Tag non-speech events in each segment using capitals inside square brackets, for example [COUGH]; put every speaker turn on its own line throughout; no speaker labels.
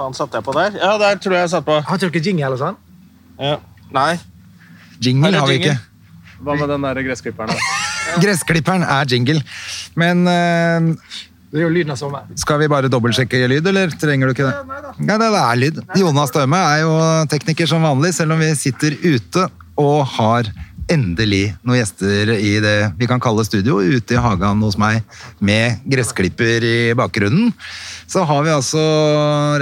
Faen, satte jeg på der? Ja, der tror jeg jeg satt på.
Har du ikke jingle eller sånn?
Ja. Nei.
Jingle
Eller
har vi
jingle.
ikke.
Hva med den der gressklipperen? da?
[LAUGHS] Gressklipperen er jingle. Men eh,
Det er jo lyden av sommer.
skal vi bare dobbeltsjekke lyd, eller trenger du ikke det? Nei, det er lyd. Jonas Døme er jo tekniker som vanlig, selv om vi sitter ute og har endelig noen gjester i det vi kan kalle studio, ute i hagen hos meg med gressklipper i bakgrunnen. Så har vi altså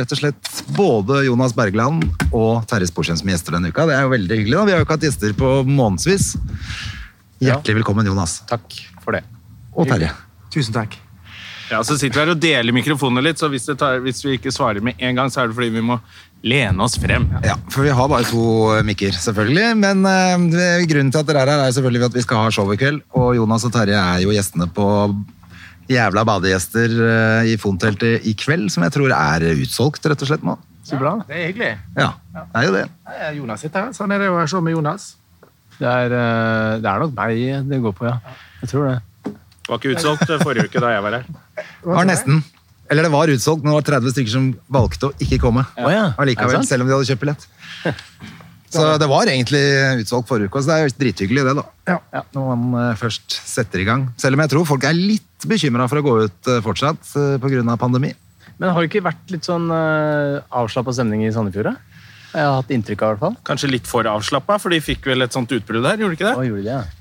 rett og slett både Jonas Bergland og Terje Sporsem som gjester denne uka. Det er jo veldig hyggelig. da. Vi har jo ikke hatt gjester på månedsvis. Hjertelig velkommen, Jonas.
Takk for det.
Og Terje.
Tusen takk.
Ja, så sitter vi her og deler mikrofonene litt, så hvis, det tar, hvis vi ikke svarer med en gang, så er det fordi vi må lene oss frem.
Ja, for vi har bare to eh, mikker, selvfølgelig. Men eh, det- grunnen til at dere er her, er selvfølgelig at vi skal ha show i kveld. Og Jonas og Terje er jo gjestene på Jævla badegjester eh, i Fonteltet i kveld, som jeg tror er utsolgt, rett og slett nå.
Så bra. Det er hyggelig.
Ja, det er jo det.
Jonas sitter her. Sånn er det å være med Jonas.
Det er, eh, det er nok meg det går på, ja. Jeg tror det.
Det var ikke utsolgt eh, forrige uke da jeg var her.
Var nesten. Eller det var utsolgt, men det var 30 stykker som valgte å ikke komme.
Å ja, er
Allikevel,
det sant?
selv om de hadde kjøpt billett. Så det var egentlig utsolgt forrige uke, så det er jo drithyggelig det, da. Ja, Når man eh, først setter i gang. Selv om jeg tror folk er litt bekymra for å gå ut eh, fortsatt eh, på grunn av pandemi.
Men har det ikke vært litt sånn uh, avslappa stemning i Sandefjord? da? Jeg har hatt inntrykk av i hvert fall.
Kanskje litt for avslappa, for de fikk vel et sånt utbrudd her, gjorde de ikke det?
Å, gjorde de det? ja.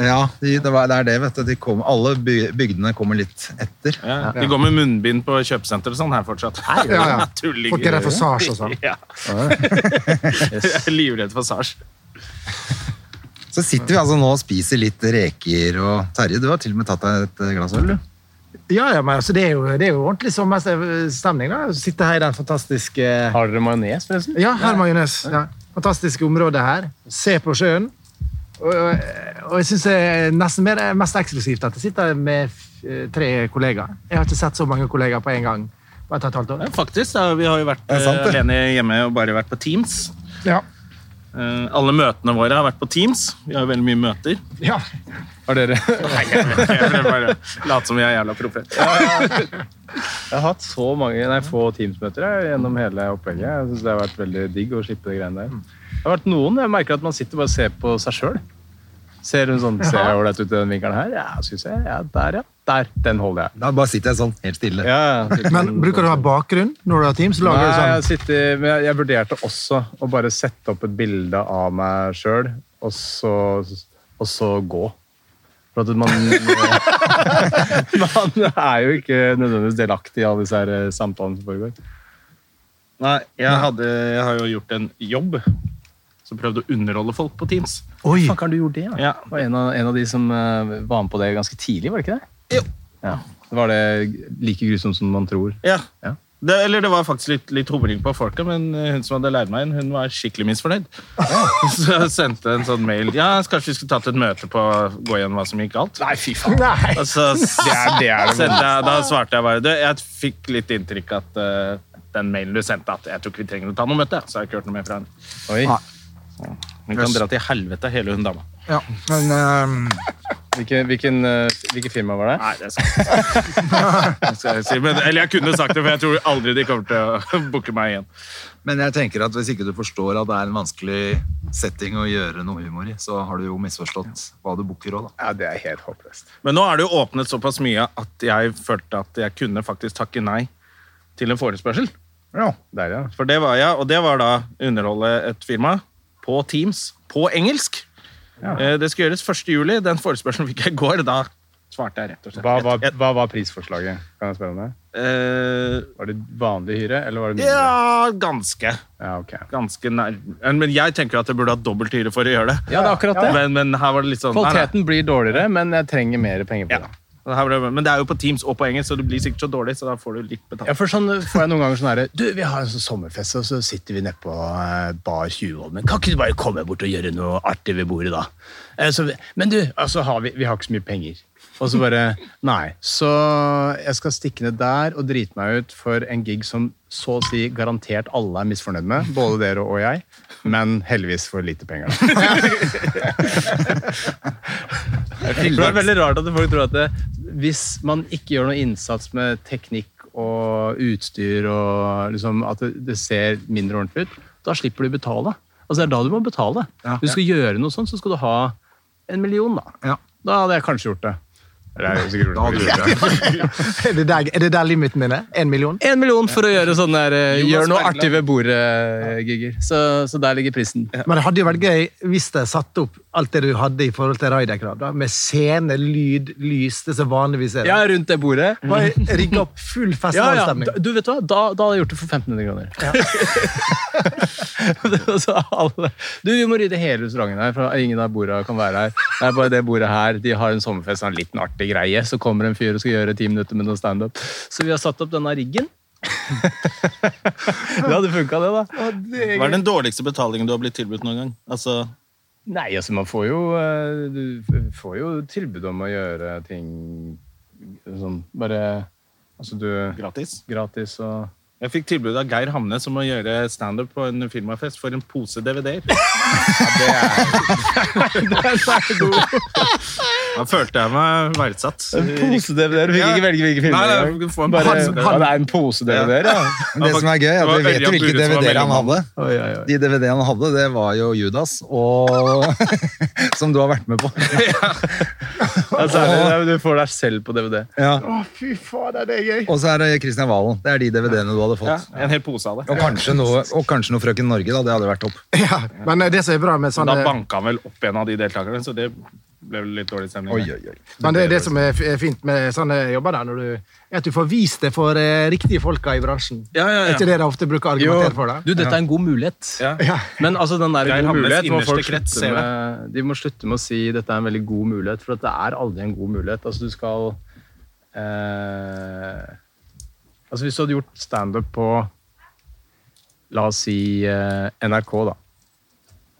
Ja, de, det, var, det er det, vet du. De kom, alle by, bygdene kommer litt etter.
Ja, de går med munnbind på kjøpesenter og sånn her fortsatt.
Ja,
[LAUGHS]
ja.
Tulling.
Fått dere forsasj og sånn.
[LAUGHS] Ja. Jeg er livredd for Sars.
Så sitter vi altså nå og spiser litt reker og Terje, du har til og med tatt deg et eh, glass øl, du.
Ja, ja, men altså, det, er jo, det er jo ordentlig sommerstemning. da. Sitte her i den fantastiske
Har dere majones, forresten?
Ja, her, Majones. Ja. Fantastiske området her. Se på sjøen. Og, og, og jeg syns det er nesten mer, mest eksklusivt at jeg sitter med f- eh, tre kollegaer. Jeg har ikke sett så mange kollegaer på en gang på et og et halvt år.
Ja, faktisk. Da, vi har jo vært
Det er sant,
eh,
det.
alene hjemme og bare vært på Teams.
Ja.
Eh, alle møtene våre har vært på Teams. Vi har jo veldig mye møter.
ja.
Har dere? Nei, jeg vet ikke. Jeg bare Late som vi er jævla proffe.
Jeg har hatt så mange, nei, få Teams-møter jeg, gjennom hele opplegget. Jeg synes Det har vært veldig digg å slippe de greiene der.
Mm.
Det har vært noen, Jeg merker at man sitter bare og ser på seg sjøl. Ser hun sånn, ser jeg ålreit ut i den vinkelen her? Ja, synes jeg. Ja, der, ja. Der. Den holder jeg.
Da bare sitter jeg sånn, helt stille.
Ja, ja.
Men bruker du å ha bakgrunn når du har Teams?
Nei,
Lager du
jeg,
sånn
sitter, men jeg, jeg vurderte også å bare sette opp et bilde av meg sjøl, og, så- og så gå. For at man [LAUGHS] Man er jo ikke nødvendigvis delaktig i alle disse her eh, samtalene som foregår.
Nei, jeg, hadde, jeg har jo gjort en jobb som prøvde å underholde folk på Teams.
Oi!
Faen, kan du gjort det? Ja.
Ja.
Det var en av, en av de som eh, var med på det ganske tidlig, var det ikke det? Jo. Ja. Var det like grusomt som man tror?
Ja.
Ja.
Det, eller det var faktisk litt, litt humring på folket, men eh, hun som hadde lært meg en, hun var skikkelig misfornøyd. [LAUGHS] Så jeg sendte en sånn mail. Ja, kanskje vi skulle tatt et møte på å gå igjennom hva som gikk galt. Nei, fy faen.
Nei!
Og [LAUGHS] så sendte jeg, da svarte jeg bare du, Jeg fikk litt inntrykk at eh, den mailen du sendte, at jeg tror ikke vi trenger å ta noe møte. Så jeg har ikke hørt noe mer fra henne.
Oi.
Nei.
Hun kan dra til helvete, hele hun dama.
Ja, men... ehm,
Hvilke, hvilken, eh, hvilke firma var det?
Nei, det er
[LAUGHS]
sant. Det skal jeg si. Men, eller jeg kunne sagt det, for jeg tror aldri de kommer til å [LAUGHS] booke meg igjen.
Men jeg tenker at hvis ikke du forstår at det er en vanskelig setting å gjøre noe humor i, så har du jo misforstått hva du booker òg, da.
Ja, det er helt håpløst.
Men nå er det jo åpnet såpass mye at jeg følte at jeg kunne faktisk takke nei til en forespørsel.
Ja, der, ja.
For det var jeg, og det var da underholde et firma på Teams på engelsk. Eh, Det skal gjøres 1. juli. Den forespørselen fikk jeg i går. Da svarte jeg rett og slett.
Hva var,
Jeg-
hva var prisforslaget? Kan jeg spørre om det?
eh,
Var det vanlig hyre, eller var det mindre?
ja, ganske.
ja ok.
Ganske nær. Men jeg tenker jo at jeg burde hatt dobbelt hyre for å gjøre det. [LAUGHS]
Ja, det er akkurat det.
Men, men her var det litt sånn nei, nei.
Kvaliteten blir dårligere, men jeg trenger mer penger på
Ja.
det. Det her ble- Men det er jo på Teams og på engelsk, så det blir sikkert så dårlig, så da får du litt betalt.
Ja, for sånn får jeg noen ganger sånn herre Du, vi har en sånn sommerfest, og så sitter vi nede på eh, bar 20-ånden. Kan ikke du bare komme bort og gjøre noe artig ved bordet, da? Eh, Så, vi- men du, altså har vi, vi har ikke så mye penger. Og så bare [LAUGHS] Nei. Så jeg skal stikke ned der og drite meg ut for en gig som så å si garantert alle er misfornøyd med. Både dere og jeg. Men heldigvis for lite penger. da. For det er veldig rart at folk tror at det, hvis man ikke gjør noe innsats med teknikk og utstyr, og liksom at det, det ser mindre ordentlig ut, da slipper du betale. Altså Det er da du må betale.
Ja.
Hvis du skal gjøre noe sånt, så skal du ha en million, da.
Ja.
Da hadde jeg kanskje gjort det. Eller, jeg er sikkert gjort det.
Er det der, er det der limiten din er? En million?
En million for å gjøre sånne der, eh,
Jonas
gjør noe
Bergland.
artig ved bordet-gigger. Så, så der ligger prisen.
Men det hadde jo vært gøy hvis de satte opp alt det du hadde i forhold til Raiderkrav. da, Med scene, lyd, lys, det som vanligvis er
Ja,
der.
rundt det bordet.
Bare rigge opp full
Ja, ja.
festivalstemning.
Da, du vet hva? Da, da hadde jeg gjort det for 1500 kroner. [LAUGHS] Det var så alle. Du, vi må rydde hele restauranten her, for ingen av borda kan være her. Det er bare det bordet her. De har en sommerfest, en liten artig greie. Så kommer en fyr og skal gjøre ti minutter med noe standup. Så vi har satt opp denne riggen. [LAUGHS] det hadde funka, det, da.
Hva er den dårligste betalingen du har blitt tilbudt noen gang? Altså,
Nei, altså, man får jo eh, Du får jo tilbud om å gjøre ting sånn bare Altså, du
gratis?
Gratis og
Jeg fikk tilbud av Geir Hamnes om å gjøre standup på en firmafest for en
[LAUGHS]
pose DVD-er. Da følte jeg meg verdsatt.
Pose-DVD-er? Du fikk
Ja.
ikke velge hvilke filmer?
Nei, nei,
det
du
var.
får en
Bare,
pose DVD.
Ja, det er en pose-DVD-er,
[LAUGHS]
ja.
Men det som er gøy, er
Det
at
var
vi vet jo
Ørjan
hvilke
Burre som var
DVD-er han
mellommann.
hadde.
Oi, oi, oi.
De DVD-ene han hadde, det var jo Judas, og [LAUGHS] som du har vært med på.
Altså, det er- du får deg selv på DVD.
Ja.
Å, fy fader, det er gøy!
Og så er det Christian Valen. Det er de DVD-ene du hadde
Ja,
fått.
en hel pose av det.
Og kanskje noe, og kanskje noe Frøken Norge, da. Det hadde vært topp.
Ja, men det som er bra med
Men Da
sånne
banka han vel opp en av de deltakerne, så det ble vel litt dårlig stemning.
Oi, oi, oi.
men det, er det som er f- er fint med sånne jobber, der, når du, er at du får vist det for eh, riktige folka i bransjen.
Ja, ja,
Er
ja.
ikke det de ofte bruker å argumentere for? da?
Du, dette er en god mulighet.
Ja.
Ja.
Men altså, den der
Geir
god
Hamnes
mulighet, må
innerste
folk
krets,
slutte
ser
med, de må slutte med å si dette er en veldig god mulighet, for at det er aldri en god mulighet. Altså, du skal eh, Altså, hvis du hadde gjort standup på La oss si eh, NRK, da.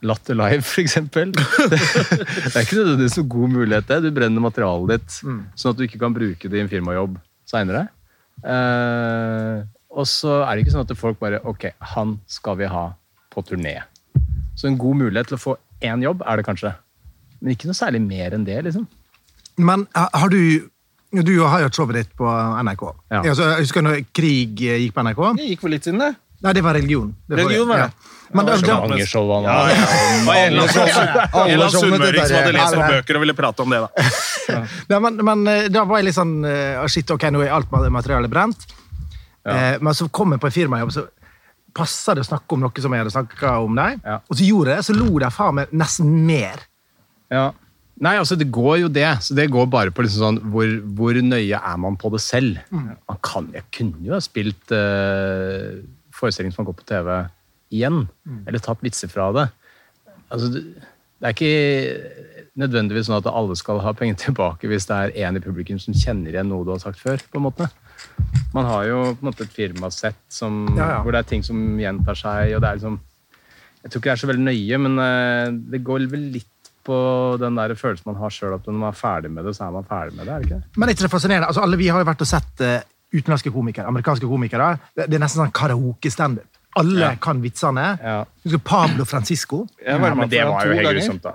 Latter Live, for
[LAUGHS]
eksempel. Det, det er ikke nødvendigvis noen god mulighet, det. Du brenner materialet ditt, sånn at du ikke kan bruke det i en firmajobb seinere. Eh, og så er det ikke sånn at folk bare Ok, han skal vi ha på turné. Så en god mulighet til å få én jobb er det kanskje. Men ikke noe særlig mer enn det, liksom.
Men ha- har du Du har jo et showet ditt på NRK.
Ja.
Jeg, altså, jeg husker når krig eh, gikk på NRK.
Det gikk vel litt siden, det.
Nei, det var religion. Det forrige.
Religion var det.
Ja. Men,
Så
da- da-
mange show han har.
Det var en eller annen sånn- en
showene
eller annen
til
sunnmøring som
Terje.
hadde lest
Ja,
noen
det
bøker og ville prate om det, da.
[LAUGHS] Nei, men, men eh, da var jeg litt sånn eh, ah, Shit, ok, nå er alt ma- materialet brent. Eh, men så kom jeg på en firmajobb, så passa det å snakke om noe som jeg hadde snakka om deg.
Ja.
Og så gjorde jeg det, så lo de faen meg nesten mer.
Ja. Nei, altså det går jo det. Så det går bare på liksom sånn, hvor, hvor nøye er man på det selv? Man kan, jeg kunne jo ha spilt eh, forestilling som har gått på TV igjen, eller tatt vitser fra det. Altså, det, det er ikke nødvendigvis sånn at alle skal ha penger tilbake hvis det er en i publikum som kjenner igjen noe du har sagt før. på en måte. Man har jo på en måte et firmasett som,
Ja, ja.
hvor det er ting som gjentar seg. og det er liksom... Jeg tror ikke det er så veldig nøye, men eh, det går vel litt på den der følelsen man har sjøl, at når man er ferdig med det, så er man ferdig med det. er det ikke det?
Men er ikke det fascinerende? Altså, alle vi har jo vært og sett eh, utenlandske komikere, amerikanske komikere. Det, det er nesten sånn karaoke-standup. Alle kan vitsene.
Ja.
Husker du Pablo Francisco.
Jeg var med
men det
på den
var jo
to
helt
ganger.
grusomt, da.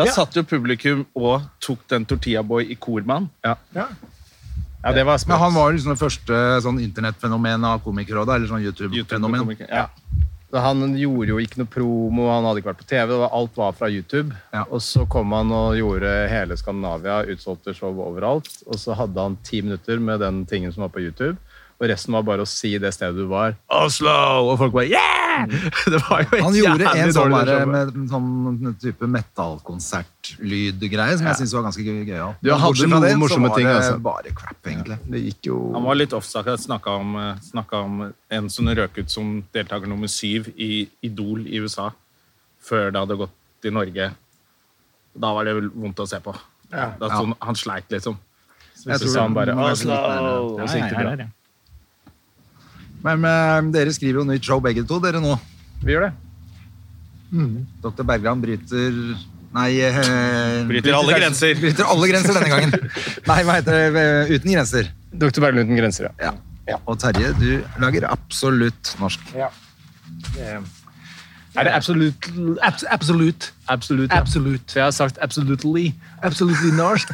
Da satt jo publikum og tok den Tortilla Boy i kor med han.
Ja, det
Men
var spennende.
han var jo liksom det første sånn internettfenomen av komikere også, da, eller sånn YouTube-fenomen.
YouTube-komiker. Ja.
Han gjorde jo ikke noe promo, han hadde ikke vært på TV, det var, alt var fra YouTube.
Ja.
Og så kom han og gjorde hele Skandinavia, utsolgte show overalt. Og så hadde han ti minutter med den tingen som var på YouTube. Og resten var bare å si det stedet du var. Mm. Oslo! Og folk bare Yeah! [LAUGHS] Det var jo
Han
helt
gjorde en
jævlig
sånn,
dårlig
der,
show.
med, sånn type metallkonsertlydgreie som jeg syns var ganske gøyal.
Du, han hadde
Bortsett fra
noen
det, så
morsomme
var
ting,
det
altså.
Bare crap, egentlig.
Det gikk jo
Han var litt offside. Jeg snakka om, eh, snakket om en som røk ut som deltaker nummer syv i Idol i USA før det hadde gått i Norge. Da var det vel vondt å se på. Da sto han- han sleit, liksom. Så hvis du sa han bare
Oslo!
«Oslo!» Det var så gikk det bra.
Men eh, dere skriver jo nytt show begge to, dere nå.
Vi gjør det.
Dr. Bergland bryter Nei eh,
Bryter alle grenser.
Bryter alle grenser denne gangen.
[LAUGHS]
Nei, hva heter det? Eh, Uten grenser.
Dr. Berglund uten grenser, ja.
Ja. Og Terje, du lager absolutt norsk.
Er det absolutt
Abs absolutt.
Absolutt. ja.
Absolutt.
Så jeg har sagt absolutely.
Absolutely norsk.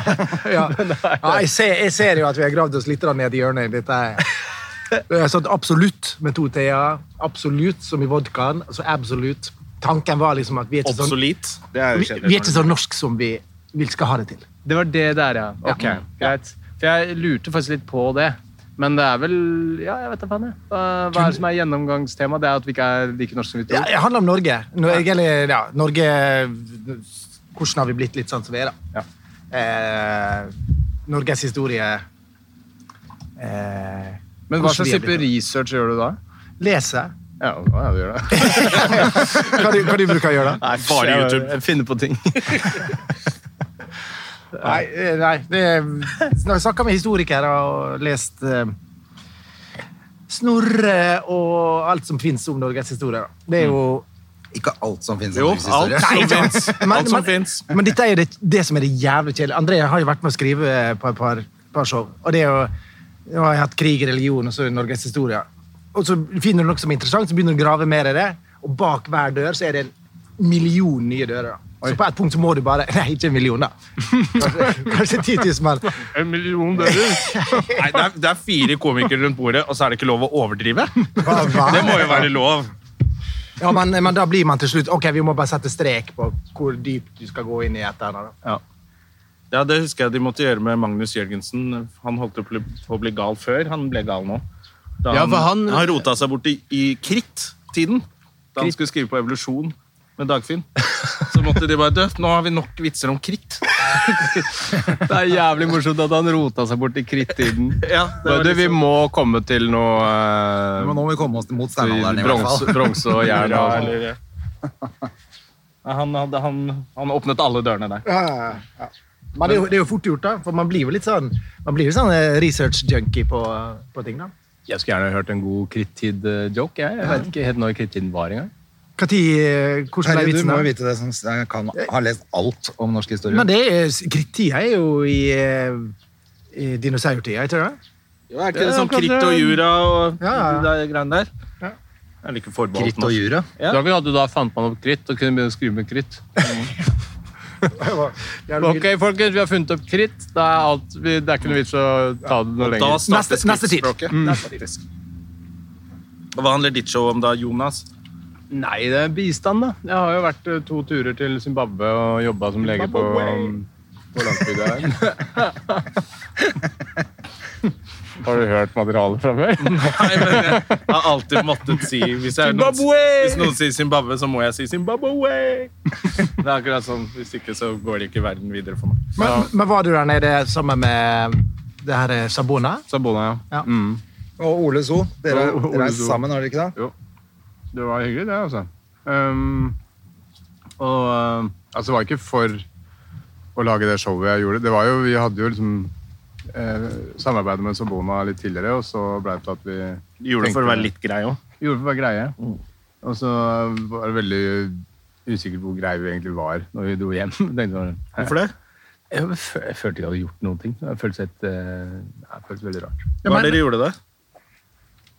[LAUGHS]
ja. ja jeg, ser, jeg ser jo at vi har gravd oss litt grann ned i hjørnet. i Dette Det er sånn absolutt med to t-er. Absolutt som i vodkaen. Så absolutt. Tanken var liksom at vi er ikke sånn,
Obsolit. Det er
vi, vi er ikke så
sånn.
norsk som vi vil skal ha det til.
Det var det der, ja. Ok,
Ja.
greit. For jeg lurte faktisk litt på det. Men det er vel Ja, jeg vet da faen, jeg. Hva, hva er det som er gjennomgangstema? Det er at vi ikke er like norske som vi
Ja,
tror.
det handler om Norge. Norge, eller, ja, Norge Hvordan har vi blitt litt sånn som vi er, da? Eh, Norges historie eh,
Men
hvordan
hva
vi
slags
har
type
blitt det.
research gjør du da?
Lese.
Ja, ja du gjør det.
[LAUGHS] Hva, du, hva du bruker å gjøre, da?
Nei,
bare
jeg-
YouTube.
Jeg finner på ting.
Nei, eh, nei det, Når jeg snakker med historikere og lest eh, Snorre og alt som finnes om Norges historie. da. Det er jo
Ikke alt som finnes i
Jo,
Norges
alt
historie.
som
ikke sant?
fins.
Men-
Alt som
men-
fins.
Men dette er jo det, det som er det jævlig kjedelige. André har jo vært med å skrive eh, på et par, par show. Og det er jo, nå har jeg hatt krig, religion og så Norges historie. Og så finner du noe som er interessant, så begynner du å grave mer i det. Og bak hver dør så er det en million nye dører. da. Så på et punkt så må du bare [LAUGHS] Nei, ikke en million, da. Kanskje, kanskje 10 000, men
En million dører. Nei, det er, det er fire komikere rundt bordet, og så er det ikke lov å overdrive.
hva, hva?
Det må jo være lov.
Ja, men, men da blir man til slutt Ok, vi må bare sette strek på hvor dypt du skal gå inn i et eller annet. da.
Ja, Det husker jeg de måtte gjøre med Magnus Jørgensen. Han holdt på å bli- på å bli gal før. Han ble gal nå. Da
Ja,
han,
for han-
han... rota seg bort i, i kritt-tiden. Da han skulle skrive på evolusjon med Dagfinn. Så måtte de bare dø. Nå har vi nok vitser om kritt.
Det er jævlig morsomt at han rota seg bort i krittiden.
[LAUGHS] Ja, det var
Men du, Vi
liksom-
må komme til noe
[LAUGHS]
eh,
Men nå må vi komme oss mot steinalderen, i hvert
bronse
fall.
bronse og sånn. jern.
Ja,
og-
eller, ja, han, hadde, han, han åpnet alle dørene der.
Ja, ja, ja. Men det er, jo, det er jo fort gjort, da. For man blir jo litt sånn, man blir jo sånn eh, research-junkie på, på ting. da.
Jeg skulle gjerne hørt en god krittid-joke. Jeg. jeg vet ikke helt når krittiden var engang.
Hva tid, eh, hvordan
Terje,
ble
du
vitsen?
må
da?
jo vite det som jeg kan, har lest alt om norsk historie.
Men det er, krittida er jo i, eh, i dinosaurtida, ikke sant?
er ikke det
Ja,
sånn
akkurat
kritt
det.
og jura og
Ja, ja.
de der greiene der? Jeg liker forbeholdt
Kritt og
norsk.
jura.
Ja.
Da vi hadde da fant man opp kritt og kunne begynne å skrive med kritt. Ok,
Okay.
folkens, vi har funnet opp kritt. Da er alt, vi, det er ikke noe vits å ta det noe
Da
lenger. Mm.
startet
Neste- neste tid.
skrittspråket. Og Hva handler ditt show om da, Jonas?
Nei, det er bistand, da. Jeg har jo vært eh, to turer til Zimbabwe og jobba som lege på um, Hvor langt det
[LAUGHS]
er? Har du hørt materialet fra før?
Nei, men jeg har alltid måttet si Hvis, jeg, noen,
Zimbabwe!
hvis noen sier Zimbabwe, så må jeg si Zimbabwe. Det er akkurat sånn. Hvis ikke, så går ikke verden videre for meg.
Men, men var du der nede sammen med det her eh, Sabona?
Sabona, ja.
Ja.
Mm.
Og Ole So. Dere,
Og Ole
dere er
So.
sammen, har dere ikke det?
Det var hyggelig, det, altså. Ehm, og ehm, altså, det var ikke for å lage det showet jeg gjorde. Det var jo, vi hadde jo liksom eh, samarbeidet med Sabona litt tidligere, og så ble det til at vi
Gjorde det for å være litt grei òg.
gjorde for hver greie. Og så var det veldig usikkert hvor greie vi egentlig var når vi dro hjem. [LAUGHS] Tenkte sånn, hæ?
Hvorfor det?
Jeg, fø- jeg følte ikke jeg hadde gjort noen ting. Jeg følte seg et, eh, jeg følte veldig rart.
Hva er det dere gjorde det?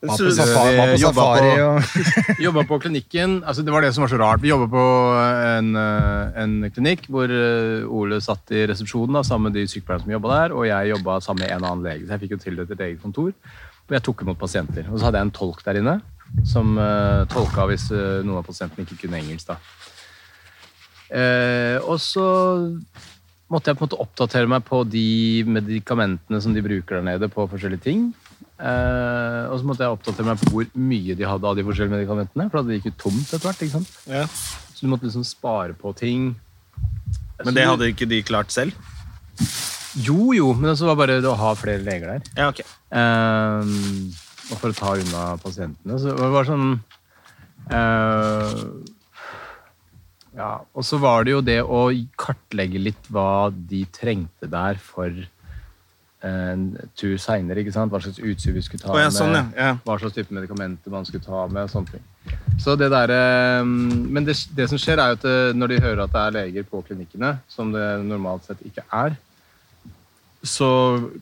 Var
Så-
på safari, var på
jobba
safari
på-
og
Jobba på klinikken. Altså, det var det som var så rart. Vi jobba på en, eh, en klinikk hvor eh, Ole satt i resepsjonen da, sammen med de sykepleierne som jobba der, og jeg jobba sammen med en annen lege. Så jeg fikk jo tildelt et eget kontor. Og jeg tok imot pasienter. Og så hadde jeg en tolk der inne som eh, tolka hvis eh, noen av pasientene ikke kunne engelsk. da. Eh, og så måtte jeg på en måte oppdatere meg på de medikamentene som de bruker der nede på forskjellige ting. Eh, og så måtte jeg oppdatere meg på hvor mye de hadde av de forskjellige medikamentene. For det gikk jo tomt etter hvert. ikke sant? Så du måtte liksom spare på ting.
Men det hadde ikke de klart selv?
Jo, jo, men så var det bare det å ha flere leger der.
Ja, ok.
Ehm, og for å ta unna pasientene. Så det var sånn eh, Ja, og så var det jo det å kartlegge litt hva de trengte der for en tur seinere. Hva slags utstyr vi skulle ta
Å, ja, sånn, ja.
med,
Ja.
hva slags type medikamenter man skulle ta med. og sånne ting. Så det der, eh, men det, det som skjer, er jo at eh, når de hører at det er leger på klinikkene, som det normalt sett ikke er, så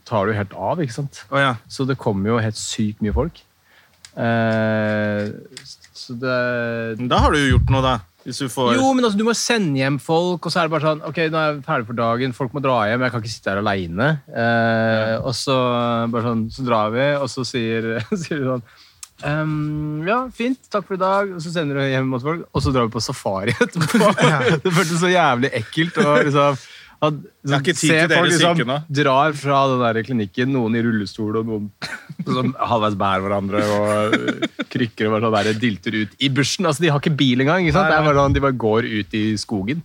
tar det jo helt av. ikke sant?
Å ja.
Så det kommer jo helt sykt mye folk. Eh, så det
Men Da har du jo gjort noe, da. Hvis du får
Jo, men altså, du må sende hjem folk, og så er det bare sånn Ok, nå er jeg ferdig for dagen, folk må dra hjem, jeg kan ikke sitte her aleine. Eh, Og så bare sånn, så drar vi, og så sier, [LAUGHS] sier du sånn «Ehm, ja, fint. Takk for i dag. Og så sender du hjem mot folk, og så drar vi på safari etterpå. [LAUGHS] Det føltes så jævlig ekkelt. Og liksom, at,
har ikke tid til dere syke nå.
drar fra den der klinikken, noen i rullestol og noen som halvveis bærer hverandre og krykker og bare sånn der, dilter ut i bushen. Altså, de har ikke bil engang. Ikke sant? Det er bare sånn, de bare går ut i skogen.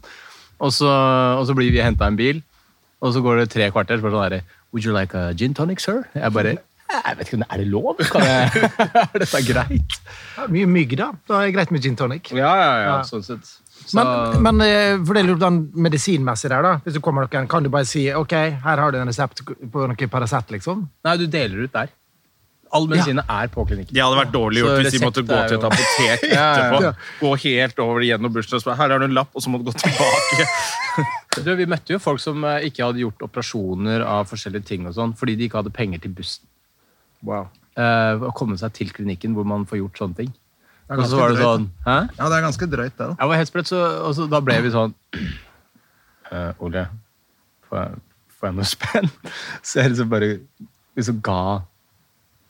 Og så, og så blir vi henta en bil, og så går det tre kvarter. Så bare sånn der, Would you like a gin tonic, sir? Jeg bare jeg vet ikke, om det- Er det lov? Kan jeg, [LAUGHS] er dette greit?
Ja, Mye mygg, da. Da er det greit med gin tonic.
Ja, ja, ja, sånn sett. Så,
Men, men eh, for det er jo den medisinmessig der, da. Hvis du kommer noen, kan du bare si OK, her har du en resept på noe Paracet, liksom.
Nei, du deler ut der. All medisinen er på klinikken.
Det hadde vært dårlig gjort
Så
hvis de måtte
resept
gå
er
til et
jo-
apotek
[LAUGHS] Ja, ja, ja.
etterpå. Gå helt over gjennom bursdagen og spørre her har du en lapp, og så må du gå tilbake.
Du, vi møtte jo folk som eh, ikke hadde gjort operasjoner av forskjellige ting og sånn, fordi de ikke hadde penger til bussen. Eh, å komme seg til klinikken hvor man får gjort sånne ting. Og så var det sånn Hæ?
Ja, det er ganske drøyt, det. da.
Jeg var helt sprøtt, så og så da ble vi sånn [CLEARS THROAT] «Eh, Ole, får jeg, får jeg noe spenn? [LAUGHS] Så jeg liksom bare liksom ga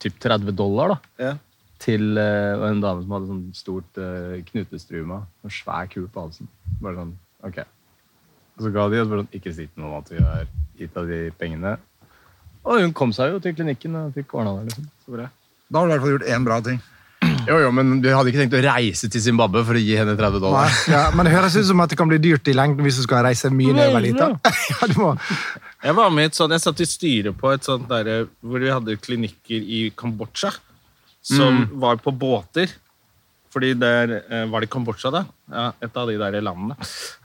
typ 30 dollar, da.
Ja.
til eh, og en dame som hadde sånn stort uh, knutestruma og svær kul på halsen. Bare sånn, ok. Og så ga de oss bare sånn, ikke si til noen at vi har gitt av de pengene. Og hun kom seg jo til klinikken og fikk ordna det. liksom. Så bra.
Da har du i hvert fall gjort én bra ting.
Jo, jo, men du hadde ikke tenkt å reise til Zimbabwe for å gi henne 30
Nei,
dollar?
ja, men det høres ut som at det kan bli dyrt i lengden hvis du skal reise mye nedover dit. da. [LAUGHS] Ja, du må.
Jeg var med i [LAUGHS] et sånt, jeg satt i styret på et sånt der, eh, hvor vi hadde klinikker i Kambodsja, som
Mm.
var på båter. Fordi der, eh, var det Kambodsja da? Ja, et av de der landene.